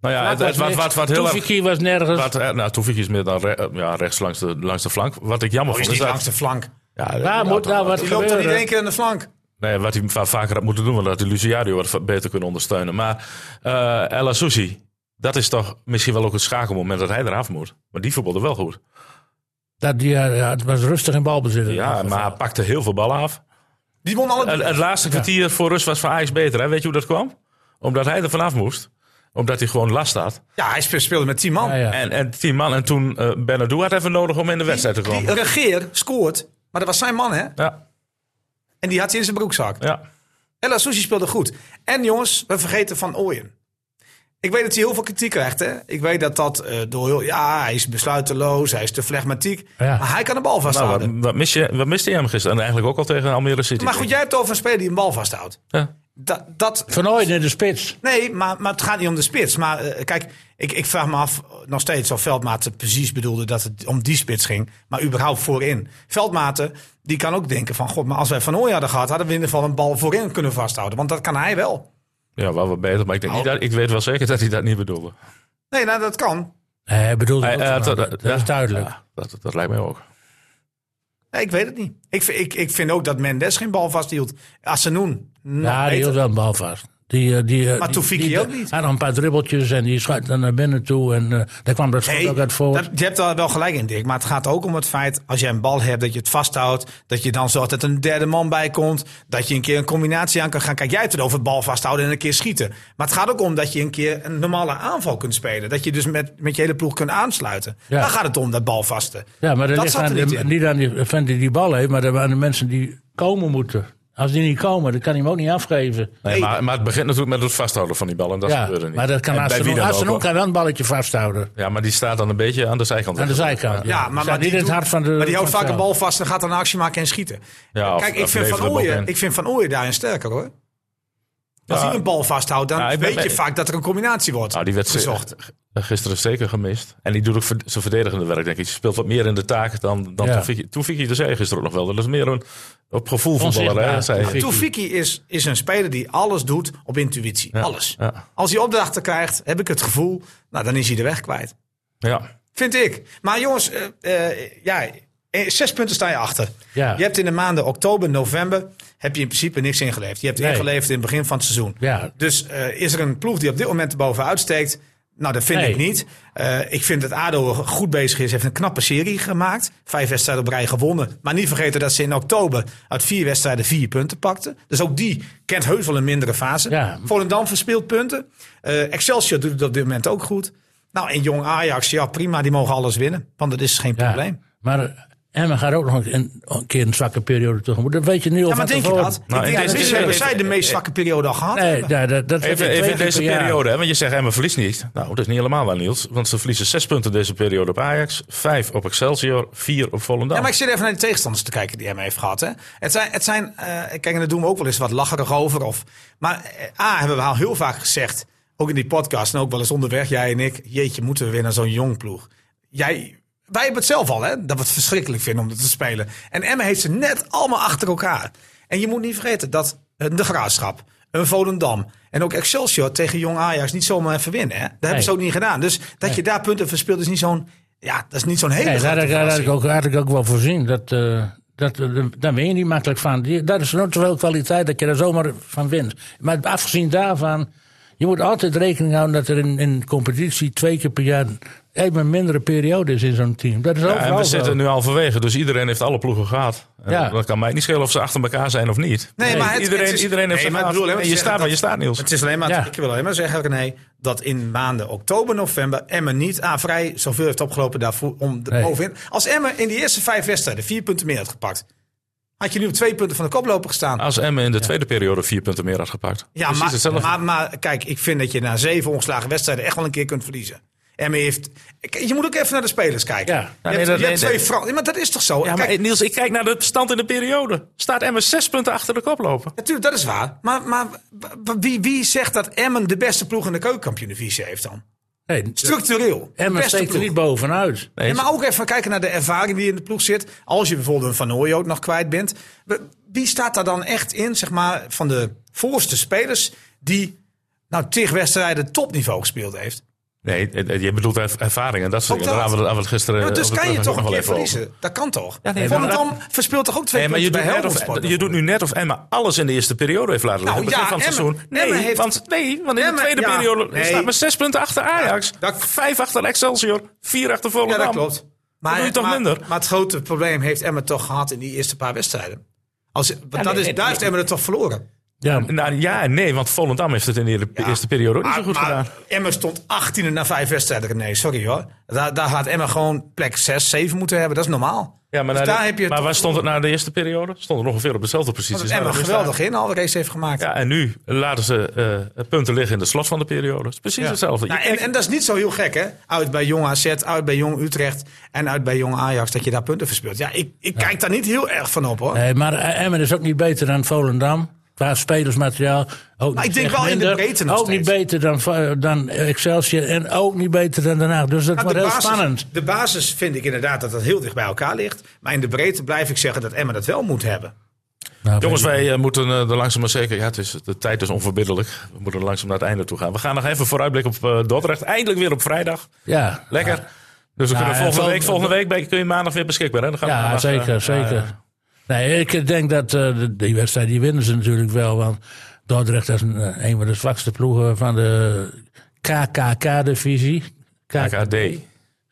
Speaker 5: Nou ja, het, het- wat, wat, wat heel erg.
Speaker 1: Toefiki was nergens.
Speaker 2: Dus-
Speaker 5: Wat, eh, nou, Toefik is meer dan re- eh, ja, rechts langs de, langs de flank. Wat ik jammer
Speaker 2: Oh, is niet
Speaker 5: vond. Is dat,
Speaker 2: langs de flank.
Speaker 5: ja,
Speaker 1: Waar
Speaker 5: nou,
Speaker 1: moet
Speaker 5: dan-
Speaker 1: nou wat
Speaker 2: Die loopt er niet
Speaker 1: gebeuren?
Speaker 2: één keer aan de flank.
Speaker 5: Nee, wat hij va- vaker had moeten doen, want dat had Luciario wat va- beter kunnen ondersteunen. Maar eh El Azuzi, dat is toch misschien wel ook het schakelmoment dat hij eraf moet. Maar die voetbalde wel goed.
Speaker 1: Dat die, eh, ja, het was rustig in balbezit.
Speaker 5: Ja, maar hij pakte heel veel ballen af.
Speaker 2: Die won alle...
Speaker 5: Het, het laatste kwartier voor rust was van Ajax beter. Hè? Weet je hoe dat kwam? Omdat hij er vanaf moest. Omdat hij gewoon last had.
Speaker 2: Ja, hij spe- speelde met 10 man.
Speaker 1: Ja, ja.
Speaker 5: En, en tien man. En toen eh Bernardo had even nodig om in de wedstrijd te komen.
Speaker 2: Die regeer scoort, maar dat was zijn man, hè?
Speaker 5: Ja,
Speaker 2: En die had hij in zijn broekzak.
Speaker 5: ja.
Speaker 2: Ella Sushi speelde goed. En jongens, we vergeten Van Ooyen. Ik weet dat hij heel veel kritiek krijgt, hè? Ik weet dat dat eh, door heel... Ja, hij is besluiteloos, hij is te flegmatiek.
Speaker 1: Ja.
Speaker 2: Maar hij kan de bal
Speaker 5: Nou, wat,
Speaker 2: vasthouden.
Speaker 5: wat, mis je, wat miste je hem gisteren? En eigenlijk ook al tegen Almere City.
Speaker 2: maar goed, jij hebt het over een speler die een bal vasthoudt.
Speaker 5: Ja.
Speaker 2: Dat, dat,
Speaker 1: Van Ooyen in de spits.
Speaker 2: nee, maar, maar het gaat niet om de spits. Maar eh, kijk, ik, ik vraag me af eh, nog steeds of Veldmaten precies bedoelde dat het om die spits ging. Maar überhaupt voorin. Veldmaten, die kan ook denken van... God, maar als wij Van Ooyen hadden gehad, hadden we in ieder geval een bal voorin kunnen vasthouden. Want dat kan hij wel.
Speaker 5: Ja, wel wat beter. Maar ik,
Speaker 1: Oh.
Speaker 5: denk niet dat, ik weet wel zeker dat hij dat niet bedoelde.
Speaker 2: Nee, nou, dat kan.
Speaker 1: Nee, hij bedoelde
Speaker 5: Hij,
Speaker 1: ook
Speaker 5: eh,
Speaker 1: van
Speaker 5: dat-
Speaker 1: Ooyen.
Speaker 5: dat-
Speaker 1: Dat is
Speaker 5: ja.
Speaker 1: duidelijk.
Speaker 5: Ja, dat, dat lijkt mij ook.
Speaker 2: Nee, ik weet het niet. Ik, vind- ik, ik vind ook dat Mendes geen bal vasthield. nou, Assenoen. nog
Speaker 5: Nou,
Speaker 1: Ja, die
Speaker 2: beter.
Speaker 1: hield wel een bal vast. Die, eh, die, eh,
Speaker 2: Maar
Speaker 1: die-
Speaker 2: Toefiki
Speaker 1: die-
Speaker 2: ook niet.
Speaker 1: Hij had een paar dribbeltjes en die schuift dan naar binnen toe. En eh, daar kwam dat schot
Speaker 2: Nee,
Speaker 1: ook uit voor.
Speaker 2: dat- je hebt daar wel gelijk in, Dick. Maar het gaat ook om het feit, als jij een bal hebt, dat je het vasthoudt. Dat je dan zorgt dat een derde man bij komt. Dat je een keer een combinatie aan kan gaan. Kijk, jij hebt het over het bal vasthouden en een keer schieten. Maar het gaat ook om dat je een keer een normale aanval kunt spelen. Dat je dus met, met je hele ploeg kunt aansluiten.
Speaker 1: Ja.
Speaker 2: Daar gaat het om, dat bal vasten.
Speaker 1: ja, maar dat,
Speaker 2: dat
Speaker 1: ligt
Speaker 2: zat
Speaker 1: aan,
Speaker 2: er
Speaker 1: de-
Speaker 2: niet in.
Speaker 1: niet aan die vent die die bal heeft, maar aan de mensen die komen moeten. Als die niet komen, dan kan hij hem ook niet afgeven.
Speaker 5: Nee, maar, maar het begint natuurlijk met het vasthouden van die bal. En dat
Speaker 1: ja,
Speaker 5: gebeurde niet.
Speaker 1: maar dat kan
Speaker 5: En bij wie
Speaker 1: Arsenal.
Speaker 5: dan ook,
Speaker 1: Arsenal
Speaker 5: hoor.
Speaker 1: kan wel een balletje vasthouden.
Speaker 5: Ja, maar die staat dan een beetje aan de zijkant.
Speaker 1: Aan de zijkant.
Speaker 2: Ja,
Speaker 1: Staat
Speaker 2: maar, maar,
Speaker 1: niet
Speaker 2: die,
Speaker 1: in het
Speaker 2: doet-
Speaker 1: hart van de.
Speaker 2: maar die houdt
Speaker 1: van
Speaker 2: vaak een
Speaker 1: het
Speaker 2: bal vast en gaat dan een actie maken en schieten.
Speaker 5: Ja, of-
Speaker 2: Kijk, ik
Speaker 5: of
Speaker 2: vind,
Speaker 5: levert
Speaker 2: van
Speaker 5: de bal
Speaker 2: Ooyen,
Speaker 5: in.
Speaker 2: ik vind Van Ooyen daarin sterker hoor. Als
Speaker 5: Ja.
Speaker 2: hij een bal vasthoudt, dan
Speaker 5: Ja, ik ben
Speaker 2: weet je
Speaker 5: mee.
Speaker 2: vaak dat er een combinatie wordt
Speaker 5: Nou, die werd
Speaker 2: gezocht.
Speaker 5: ge- gisteren zeker gemist. En die doet ook ver- zijn verdedigende werk, denk ik. Ze speelt wat meer in de taak dan, dan
Speaker 1: Ja.
Speaker 5: Toefiki. Toefiki, dat dus zei je gisteren ook nog wel. Dat is meer een op gevoel voetballer. Hè,
Speaker 1: Onzichtbaar,
Speaker 5: zei je.
Speaker 1: Toefiki.
Speaker 2: Toefiki is, is een speler die alles doet op intuïtie. Alles.
Speaker 5: ja.
Speaker 2: Als hij opdrachten krijgt, heb ik het gevoel, nou, dan is hij de weg kwijt.
Speaker 5: Ja.
Speaker 2: Vind ik. Maar jongens, eh, eh, ja, eh, zes punten sta je achter.
Speaker 1: Ja.
Speaker 2: Je hebt in de maanden oktober, november, heb je in principe niks ingeleverd. Je hebt
Speaker 1: Nee.
Speaker 2: ingeleverd in het begin van het seizoen.
Speaker 1: Ja.
Speaker 2: Dus eh, is er een ploeg die op dit moment erbovenuit steekt? Nou, dat vind
Speaker 1: Nee.
Speaker 2: ik niet. Eh, ik vind dat ADO goed bezig is. heeft een knappe serie gemaakt. Vijf wedstrijden op rij gewonnen. Maar niet vergeten dat ze in oktober uit vier wedstrijden vier punten pakten. Dus ook die kent heus wel een mindere fase.
Speaker 1: Ja.
Speaker 2: Volendam verspeelt punten. Eh, Excelsior doet het op dit moment ook goed. Nou, en jong Ajax, ja prima, die mogen alles winnen. Want dat is geen
Speaker 1: Ja,
Speaker 2: probleem.
Speaker 1: Maar eh, Emma gaat ook nog een, een keer een zwakke periode tegemoet. Dat weet je nu al
Speaker 2: Ja,
Speaker 1: van
Speaker 2: maar denk je
Speaker 1: tevoren.
Speaker 2: dat?
Speaker 5: Nou,
Speaker 2: ik denk
Speaker 5: in
Speaker 2: dat
Speaker 5: deze-
Speaker 2: misschien hebben zij de meest zwakke periode al gehad.
Speaker 1: Nee, ja, dat, dat
Speaker 5: Even,
Speaker 1: twee
Speaker 5: even in
Speaker 1: keer
Speaker 5: deze
Speaker 1: per jaar.
Speaker 5: periode, hè, want je zegt Emma verliest niet. Nou, dat is niet helemaal waar, Niels. Want ze verliezen zes punten deze periode op Ajax. Vijf op Excelsior, vier op Volendam.
Speaker 2: Ja, maar ik zit even naar de tegenstanders te kijken die hem heeft gehad. Hè. Het zijn, het zijn eh, kijk, en daar doen we ook wel eens wat lacherig over. Of, maar eh, A, hebben we al heel vaak gezegd, ook in die podcast en ook wel eens onderweg, jij en ik. Jeetje, moeten we weer naar zo'n jong ploeg. Jij, wij hebben het zelf al, hè, dat we het verschrikkelijk vinden om dat te spelen. En Emma heeft ze net allemaal achter elkaar. En je moet niet vergeten dat eh, de Graafschap, een Volendam en ook Excelsior tegen Jong Ajax niet zomaar even winnen. Hè. Dat hebben ze ook niet gedaan. Dus dat je daar punten verspeelt is niet zo'n... Ja, dat is niet zo'n hele
Speaker 1: Nee, daar
Speaker 2: grote
Speaker 1: had ik, daar had
Speaker 2: verrassing.
Speaker 1: ik ook, had ik ook wel voorzien. Dat, eh, dat, eh, daar ben je niet makkelijk van. Die, daar is nooit zoveel kwaliteit dat je er zomaar van wint. Maar afgezien daarvan, je moet altijd rekening houden dat er in, in competitie twee keer per jaar even een mindere periode is in zo'n team. Dat is
Speaker 5: Ja, en
Speaker 1: overal
Speaker 5: we
Speaker 1: zo.
Speaker 5: zitten nu halverwege, dus iedereen heeft alle ploegen gehad. En
Speaker 1: Ja.
Speaker 5: Dat kan mij niet schelen of ze achter elkaar zijn of niet.
Speaker 2: Nee, maar het-
Speaker 5: iedereen,
Speaker 2: het is-
Speaker 5: iedereen heeft
Speaker 2: Nee, maar
Speaker 5: zijn
Speaker 2: ik bedoel, hè,
Speaker 5: gehad.
Speaker 2: want je
Speaker 5: En je
Speaker 2: zegt
Speaker 5: staat waar
Speaker 2: dat-
Speaker 5: je staat, Niels.
Speaker 2: Het is alleen maar,
Speaker 1: Ja.
Speaker 2: ik wil alleen maar zeggen, René, dat in maanden oktober, november Emma niet aan vrij zoveel heeft opgelopen daarvoor om de
Speaker 1: Nee.
Speaker 2: bovenin. Als Emma in die eerste vijf wedstrijden vier punten meer had gepakt, had je nu op twee punten van de koploper gestaan.
Speaker 5: Als Emmen in de tweede periode vier punten meer had gepakt.
Speaker 2: ja,
Speaker 5: Oh, Precies
Speaker 2: maar,
Speaker 5: hetzelfde.
Speaker 2: maar, maar kijk, ik vind dat je na zeven ongeslagen wedstrijden echt wel een keer kunt verliezen. En Emme heeft... Kijk, Je moet ook even naar de spelers kijken.
Speaker 1: Ja.
Speaker 2: Je
Speaker 1: nee,
Speaker 2: hebt,
Speaker 5: dat-
Speaker 2: je hebt
Speaker 5: nee,
Speaker 2: twee Fran- Ja, maar dat is toch zo?
Speaker 5: Ja,
Speaker 2: Kijk,
Speaker 5: maar Niels, ik kijk naar de stand in de periode. Staat Emmen zes punten achter de kop lopen?
Speaker 2: Natuurlijk, dat is waar. Maar, maar w- w- wie, wie zegt dat Emmen de beste ploeg in de keukenkampioenvisie heeft dan?
Speaker 1: Nee,
Speaker 2: Structureel. de
Speaker 1: Emmen
Speaker 2: beste
Speaker 1: steekt er
Speaker 2: ploeg.
Speaker 1: niet bovenuit.
Speaker 5: Nee,
Speaker 2: Ja, maar ook even kijken naar de ervaring die in de ploeg zit. Als je bijvoorbeeld een Van Ooy ook nog kwijt bent. W- Wie staat daar dan echt in, zeg maar, van de voorste spelers die nou tig wedstrijden topniveau gespeeld heeft?
Speaker 5: nee, eh, eh, je bedoelt erv- ervaring. En dat soort
Speaker 2: Ook
Speaker 5: dingen. Daar
Speaker 2: dat.
Speaker 5: hadden we het- hadden we het gisteren
Speaker 2: Ja, maar dus
Speaker 5: op de
Speaker 2: kan je
Speaker 5: terugweg
Speaker 2: toch
Speaker 5: nog
Speaker 2: een
Speaker 5: wel
Speaker 2: keer
Speaker 5: even over.
Speaker 2: verliezen. Dat kan toch?
Speaker 5: Ja, nee,
Speaker 2: Volendam
Speaker 5: maar
Speaker 2: verspeelt toch ook twee
Speaker 5: Nee, maar je
Speaker 2: punten
Speaker 5: doet,
Speaker 2: bij
Speaker 5: net
Speaker 2: Helmond
Speaker 5: of,
Speaker 2: Sport?
Speaker 5: je doet nu net of Emma alles in de eerste periode heeft laten liggen.
Speaker 2: Nou,
Speaker 5: begin
Speaker 2: ja,
Speaker 5: van het
Speaker 2: Emma-
Speaker 5: seizoen. Nee,
Speaker 2: Emma heeft-
Speaker 5: want, nee, want in
Speaker 2: Emma-
Speaker 5: de tweede
Speaker 2: ja,
Speaker 5: periode
Speaker 2: nee.
Speaker 5: staat maar zes punten achter Ajax.
Speaker 2: Ja, dat-
Speaker 5: vijf achter Excelsior. Vier achter
Speaker 2: Ja,
Speaker 5: Volendam.
Speaker 2: dat klopt. Maar,
Speaker 5: doe je toch
Speaker 2: maar,
Speaker 5: minder?
Speaker 2: maar het grote probleem heeft Emmen toch gehad in die eerste paar wedstrijden. Als, want dat
Speaker 5: nee,
Speaker 2: is,
Speaker 5: nee,
Speaker 2: daar heeft Emmen het toch verloren.
Speaker 1: Ja,
Speaker 5: Nou, ja en nee, want Volendam heeft het in de
Speaker 2: Ja.
Speaker 5: eerste periode ook niet zo goed
Speaker 2: maar
Speaker 5: gedaan.
Speaker 2: Emmen stond 18e na vijf wedstrijden. Nee, sorry hoor. Daar, daar had Emmen gewoon plek 6, 7 moeten hebben. Dat is normaal.
Speaker 5: Ja, maar
Speaker 2: Dus
Speaker 5: na de-
Speaker 2: daar heb je
Speaker 5: maar
Speaker 2: het-
Speaker 5: waar stond het na de eerste periode? Stond er ongeveer op dezelfde positie.
Speaker 2: Dat
Speaker 5: Nou,
Speaker 2: Emmen
Speaker 5: dat is
Speaker 2: geweldig in al de race heeft gemaakt.
Speaker 5: daar- Ja, en nu laten ze eh, punten liggen in de slot van de periode. Het is precies hetzelfde.
Speaker 2: Nou,
Speaker 5: Je
Speaker 2: en,
Speaker 5: kijkt-
Speaker 2: en dat is niet zo heel gek, hè? Uit bij Jong AZ, uit bij Jong Utrecht en uit bij Jong Ajax, dat je daar punten verspeelt. Ja, ik, ik kijk daar niet heel erg van op, hoor.
Speaker 1: Nee, maar eh, Emmen is ook niet beter dan Volendam. Qua spelersmateriaal. Ook
Speaker 2: Maar
Speaker 1: niet
Speaker 2: ik denk
Speaker 1: echt
Speaker 2: wel in de
Speaker 1: minder.
Speaker 2: breedte nog
Speaker 1: Ook niet
Speaker 2: steeds.
Speaker 1: beter dan, Va- eh, dan Excelsior. En ook niet beter dan daarna. Dus dat
Speaker 2: Nou,
Speaker 1: wordt heel
Speaker 2: basis,
Speaker 1: spannend.
Speaker 2: de basis vind ik inderdaad dat dat heel dicht bij elkaar ligt. Maar in de breedte blijf ik zeggen dat Emmen dat wel moet hebben.
Speaker 1: Nou,
Speaker 5: Jongens,
Speaker 1: weet
Speaker 5: wij eh, moeten eh, er langzaam maar zeker. Ja, het is, de tijd is onverbiddelijk. We moeten er langzaam naar het einde toe gaan. We gaan nog even vooruitblik op eh, Dordrecht. Eindelijk weer op vrijdag.
Speaker 1: je- Ja,
Speaker 5: Lekker. Dus we
Speaker 1: Ja,
Speaker 5: kunnen
Speaker 1: en
Speaker 5: volgende
Speaker 1: vol-
Speaker 5: week, volgende week ben- kun je maandag weer beschikbaar. Hè? Dan gaan we
Speaker 1: ja
Speaker 5: maandag,
Speaker 1: zeker,
Speaker 5: eh,
Speaker 1: zeker.
Speaker 5: eh,
Speaker 1: Nee, ik denk dat eh, de- die wedstrijd die winnen ze natuurlijk wel. Want Dordrecht is een, eh, een van de zwakste ploegen van de KKK-divisie.
Speaker 5: KKD.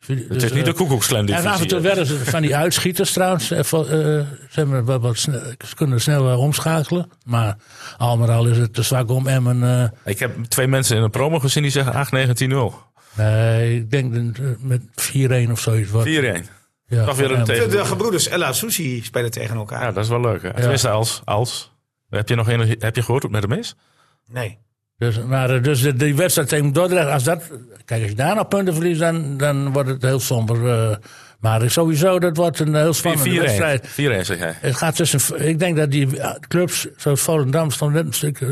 Speaker 5: Het
Speaker 1: Dus,
Speaker 5: is niet de
Speaker 1: eh,
Speaker 5: koekoeksklem die
Speaker 1: En af en toe werden ze van die uitschieters trouwens. eh, van, eh, Ze hebben wat, wat sne- ze kunnen snel eh, omschakelen. Maar al met al is het te zwak om Emmen. eh,
Speaker 5: Ik heb twee mensen in een promo gezien die zeggen 8-19-0.
Speaker 1: nee, ik denk dat, eh, met 4-1 of zoiets. Wat,
Speaker 5: 4-1.
Speaker 1: ja,
Speaker 5: Toch weer
Speaker 1: van
Speaker 5: een
Speaker 1: Emmen.
Speaker 2: De, de
Speaker 5: tegen.
Speaker 2: gebroeders Ella Susi spelen tegen elkaar.
Speaker 5: Ja, dat is wel leuk. Hè? Tenminste, als, als. Heb je nog enig, heb je gehoord hoe het met hem is?
Speaker 2: Nee.
Speaker 1: Dus, maar eh, dus de- die wedstrijd tegen Dordrecht, als dat, kijk, als je daar nog punten verliest, dan, dan wordt het heel somber. eh. maar sowieso, dat wordt een heel spannende
Speaker 5: 4-1. 4-1
Speaker 1: wedstrijd.
Speaker 5: zeg jij.
Speaker 1: Het gaat tussen, ik denk dat die eh, clubs, zoals Volendam, stond net een stuk eh,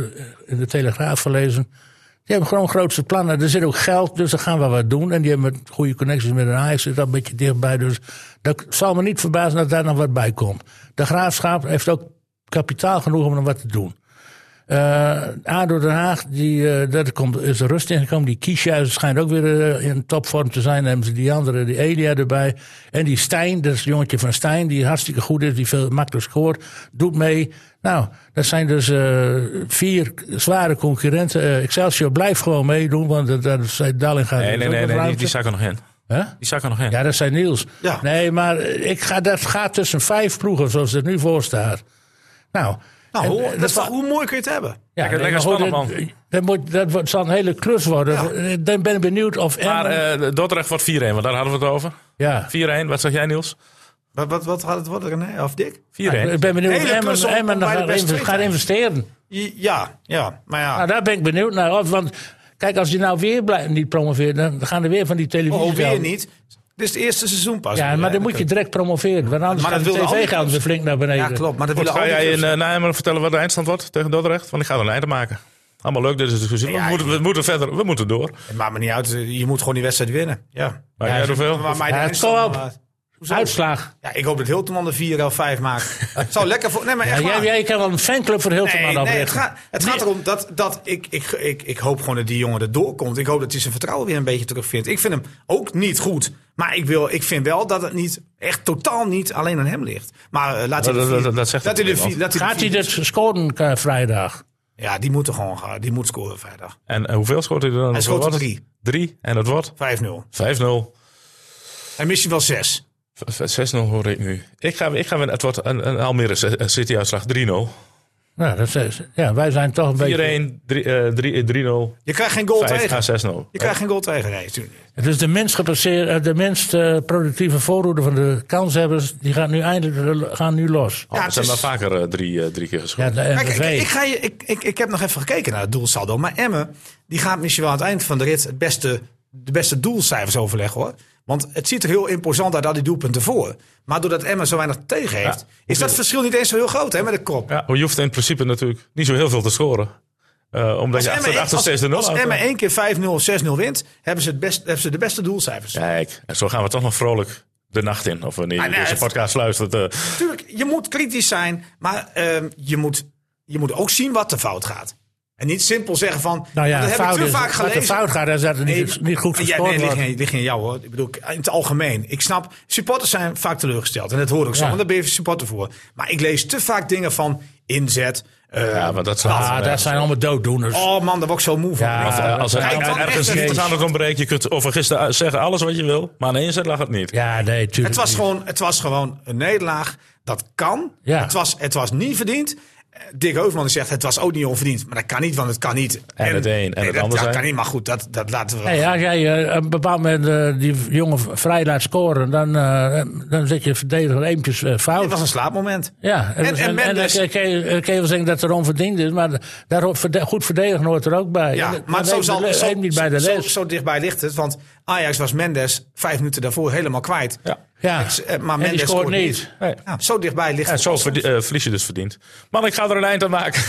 Speaker 1: in de Telegraaf verlezen. Die hebben gewoon grootste plannen. Er zit ook geld, dus daar gaan we wat doen. En die hebben met goede connecties met een Ajax, zit al een beetje dichtbij. Dus dat zal me niet verbazen dat daar nog wat bij komt. De Graafschap heeft ook kapitaal genoeg om er wat te doen. Eh ADO Den Haag, die, eh, daar komt, is er rust in gekomen. Die Kiesja schijnt ook weer eh, in topvorm te zijn. Dan hebben ze die andere, die Elia erbij. En die Stijn, dat is het jongetje van Stijn, die hartstikke goed is, die veel makkelijk scoort, doet mee. Nou, dat zijn dus eh, vier zware concurrenten. Eh, Excelsior blijft gewoon meedoen, want dat, dat, is- Dalling gaat...
Speaker 5: Nee,
Speaker 1: is
Speaker 5: nee,
Speaker 1: ook
Speaker 5: nee,
Speaker 1: een
Speaker 5: nee die,
Speaker 1: ruimte.
Speaker 5: die zak er nog in.
Speaker 1: Hè?
Speaker 5: Die zak er nog in.
Speaker 1: Ja, dat zijn Niels.
Speaker 2: Ja.
Speaker 1: Nee, maar ik ga, dat gaat tussen vijf ploegen, zoals het nu voor staat. Nou,
Speaker 2: Nou,
Speaker 1: en-
Speaker 2: hoe,
Speaker 1: en
Speaker 2: dat is toch- hoe mooi kun je het hebben?
Speaker 1: ja,
Speaker 5: Lekker-
Speaker 1: nee,
Speaker 5: lekker
Speaker 1: maar goed,
Speaker 5: spannend,
Speaker 1: dat- Dat, moet, dat wordt- zal een hele klus worden. Eh, Dan ben ik benieuwd of
Speaker 5: Maar
Speaker 1: Emmen-
Speaker 5: eh, Dordrecht wordt 4-1, want daar hadden we het over.
Speaker 1: ja.
Speaker 5: 4-1, wat zeg jij Niels? 4-1.
Speaker 2: Wat, wat, wat had het worden, René? Of Dick?
Speaker 1: Ah, ik ben benieuwd of
Speaker 2: Hele
Speaker 1: Emmen,
Speaker 2: klus om- om
Speaker 1: Emmen
Speaker 2: bij de
Speaker 1: gaat,
Speaker 2: beste
Speaker 1: inv-
Speaker 2: twee
Speaker 1: gaat
Speaker 2: te
Speaker 1: investeren.
Speaker 2: Ja, ja. Maar ja,
Speaker 1: Nou, daar ben ik benieuwd naar. Of, want kijk, als die nou weer blij- niet promoveert, dan gaan er weer van die televisie.
Speaker 2: oh, weer niet. Dit is het eerste seizoen pas.
Speaker 1: Ja, maar dan moet je direct promoveren. Want anders gaan
Speaker 2: Maar dat
Speaker 1: de
Speaker 2: willen al die
Speaker 1: tv-gaan ze
Speaker 2: clubs.
Speaker 1: flink naar beneden.
Speaker 2: Ja, klopt. Maar dat willen al
Speaker 5: Ga
Speaker 2: die
Speaker 5: jij in
Speaker 2: clubs.
Speaker 5: eh, Nijmegen vertellen wat de eindstand wordt tegen Dordrecht? Want ik ga er een einde maken. Allemaal leuk, dit is de discussie.
Speaker 2: Ja,
Speaker 5: we, moeten, we moeten verder, we moeten door.
Speaker 2: Het maakt me niet uit. eh, Je moet gewoon die wedstrijd winnen. Ja.
Speaker 5: Maar jij hoeveel?
Speaker 2: Maar mijn
Speaker 1: Ja, het
Speaker 2: eindstand,
Speaker 1: zal op.
Speaker 2: maar- Hoezo?
Speaker 1: Uitslag.
Speaker 2: Ja, ik hoop dat Hilteman de 4 of 5 maakt. Het zou lekker voor... Nee, maar
Speaker 1: Ja,
Speaker 2: echt
Speaker 1: jij,
Speaker 2: waar.
Speaker 1: jij kan wel een fanclub voor heel te
Speaker 2: Nee,
Speaker 5: nou
Speaker 1: oprichten.
Speaker 2: nee, het gaat, het gaat erom dat, dat ik, ik, ik, ik hoop gewoon dat die jongen er doorkomt. Ik hoop dat hij zijn vertrouwen weer een beetje terugvindt. Ik vind hem ook niet goed. Maar ik, wil, ik vind wel dat het niet, echt totaal niet alleen aan hem ligt. Maar eh, laat hij
Speaker 5: Dat-
Speaker 2: de vier-
Speaker 5: dat- dat zegt
Speaker 2: laat hij
Speaker 5: het
Speaker 2: de
Speaker 5: niemand.
Speaker 2: vier- laat hij de
Speaker 1: Gaat hij
Speaker 2: vier-
Speaker 1: dat scoren eh, vrijdag?
Speaker 2: Ja, die moet er gewoon gaan. Die moet scoren vrijdag. 5-0.
Speaker 5: En eh, hoeveel schoot hij er dan?
Speaker 2: Hij schoot er
Speaker 5: Wat?
Speaker 2: drie.
Speaker 5: Drie, en dat wordt 5-0.
Speaker 2: En misschien wel 6.
Speaker 5: V- v- 6-0 hoor ik nu. Ik ga, ik ga, weer- het wordt een, een Almere C- eh, City-uitslag 3-0. 4-1,
Speaker 1: Nou, dat is, ja, wij zijn toch een beetje...
Speaker 5: drie- eh, drie- eh, 3-0,
Speaker 2: Je krijgt geen goal
Speaker 5: 5
Speaker 2: tegen.
Speaker 5: à 6-0.
Speaker 2: Je krijgt geen goal tegen. Nee, natuurlijk niet.
Speaker 1: Het is de minst, gepasseer- eh, de minst eh, productieve voorhoede van de kanshebbers. Die gaan nu eindelijk gaan nu los.
Speaker 5: Ja,
Speaker 2: het
Speaker 5: ze hebben
Speaker 2: is-
Speaker 5: maar vaker eh, drie, eh, drie keer
Speaker 1: Ja,
Speaker 5: geschoten.
Speaker 1: de
Speaker 2: Kijk, ik,
Speaker 1: NVV.
Speaker 2: ik, ga je, ik, ik, ik heb nog even gekeken naar het doelsaldo. Maar Emme, die gaat misschien wel aan het eind van de rit het beste de beste doelcijfers overleggen hoor. Want het ziet er heel imposant uit, al die doelpunten voor. Maar doordat Emma zo weinig tegen heeft,
Speaker 5: Ja.
Speaker 2: is dat verschil niet eens zo heel groot hè, met de krop.
Speaker 5: Ja, maar je hoeft in principe natuurlijk niet zo heel veel te scoren. Eh, omdat
Speaker 2: Als
Speaker 5: je achter,
Speaker 2: Emma-
Speaker 5: achter
Speaker 2: als-
Speaker 5: steeds de nul
Speaker 2: als
Speaker 5: houdt.
Speaker 2: Emma één keer 5-0 of 6-0 wint, hebben ze, het best, hebben ze de beste doelcijfers.
Speaker 5: Kijk, en zo gaan we toch nog vrolijk de nacht in. Of wanneer je
Speaker 2: Ah, nee,
Speaker 5: deze
Speaker 2: het-
Speaker 5: podcast luistert. eh,
Speaker 2: Tuurlijk, je moet kritisch zijn, maar ehm, je, moet, je moet ook zien wat er fout gaat. En niet simpel zeggen van,
Speaker 1: Nou ja,
Speaker 2: dat heb ik
Speaker 1: fout
Speaker 2: te
Speaker 1: is,
Speaker 2: vaak
Speaker 1: wat
Speaker 2: gelezen.
Speaker 1: er fout gaat, is dat het niet,
Speaker 2: Nee,
Speaker 1: niet goed
Speaker 2: ja, nee,
Speaker 1: gescoord
Speaker 2: het ligt,
Speaker 1: wordt.
Speaker 2: geen- het ligt geen jou hoor. Ik bedoel, in het algemeen. Ik snap, supporters zijn vaak teleurgesteld. En dat hoor ik zo,
Speaker 1: Ja.
Speaker 2: want daar ben je supporter voor. Maar ik lees te vaak dingen van inzet. eh,
Speaker 5: ja, want dat zijn
Speaker 1: Ah,
Speaker 5: altijd, eh,
Speaker 1: dat zijn allemaal dooddoeners.
Speaker 2: oh man, daar word ik zo moe van.
Speaker 1: Ja,
Speaker 2: Ik
Speaker 5: Als,
Speaker 2: denk,
Speaker 5: er- als er
Speaker 2: Kijk, dan echt
Speaker 5: ergens
Speaker 2: een
Speaker 5: iets
Speaker 2: keer.
Speaker 5: aan het ontbreekt, je kunt over gisteren zeggen alles wat je wil, maar aan de inzet lag het niet.
Speaker 1: Ja, nee, tuurlijk.
Speaker 2: Het was,
Speaker 1: niet.
Speaker 2: gewoon, het was gewoon een nederlaag. Dat kan.
Speaker 1: Ja.
Speaker 2: Het, was, het was niet verdiend. Eh, Dick Heuvelman die zegt het was ook niet onverdiend. Maar dat kan niet, want het kan niet.
Speaker 5: En het een en het
Speaker 2: dat,
Speaker 5: ander
Speaker 2: Dat
Speaker 5: zijn.
Speaker 2: kan niet, maar goed, dat, dat laten we.
Speaker 1: Hey, als jij eh, op een bepaald moment eh, die jongen vrij laat scoren, dan, eh, dan zit je verdediger eventjes eh, fout.
Speaker 2: Het was een slaapmoment.
Speaker 1: Ja, en,
Speaker 2: En- en
Speaker 1: en, en,
Speaker 2: Mendes-
Speaker 1: dan kun je- eh, kun je wel zeggen dat er onverdiend is, maar daar hoort verde- goed verdedigen hoort er ook bij.
Speaker 2: Ja,
Speaker 1: En dat-
Speaker 2: maar
Speaker 1: dat
Speaker 2: zo,
Speaker 1: neemt de
Speaker 2: zal,
Speaker 1: le-
Speaker 2: zo,
Speaker 1: neemt niet bij de
Speaker 2: zo,
Speaker 1: les.
Speaker 2: zo dichtbij ligt het. Want Ajax was Mendes vijf minuten daarvoor helemaal kwijt.
Speaker 5: Ja.
Speaker 1: ja.
Speaker 2: Ex- eh,
Speaker 1: En
Speaker 2: maar
Speaker 1: die
Speaker 2: Mendes
Speaker 1: scoort niet.
Speaker 5: Nee.
Speaker 2: Ja, zo dichtbij ligt
Speaker 5: Ja,
Speaker 2: het.
Speaker 5: zo verdie- eh, verlies je dus verdiend. Man, ik ga er een eind aan maken.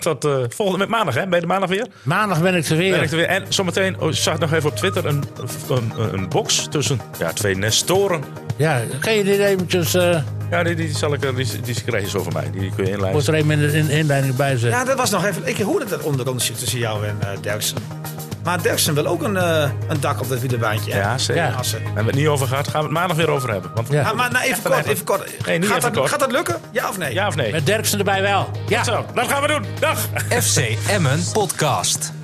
Speaker 5: Tot eh, volgende met maandag, hè? Ben je de maandag weer?
Speaker 1: Maandag ben ik er weer.
Speaker 5: Ben ik er weer. En zometeen oh, zag ik nog even op Twitter een, een, een box tussen ja, twee nestoren.
Speaker 1: Ja, kun je dit eventjes, eh
Speaker 5: Ja, die, die, zal ik, eh, die, die krijg je zo van mij. Die kun je inlijsten.
Speaker 1: moet er even in de in- inleiding bij zetten.
Speaker 2: Ja, dat was nog even. Ik hoorde dat ondergrond zit tussen jou en eh Derksen. Maar Derksen wil ook een, eh, een dak op dat wielerbaantje. hè?
Speaker 5: Ja, zeker.
Speaker 1: Ja.
Speaker 5: Daar
Speaker 2: Assen.
Speaker 5: hebben we het niet over gehad. Gaan we het maandag weer over hebben. Want
Speaker 1: Ja.
Speaker 2: Ah, maar nou, even kort, even kort.
Speaker 5: Nee, niet
Speaker 2: gaat,
Speaker 5: even
Speaker 2: dat,
Speaker 5: kort.
Speaker 2: gaat dat lukken? Ja of nee?
Speaker 5: ja of nee?
Speaker 1: Met Derksen erbij wel. Ja.
Speaker 5: Zo, dat gaan we doen. Dag!
Speaker 3: FC Emmen Podcast.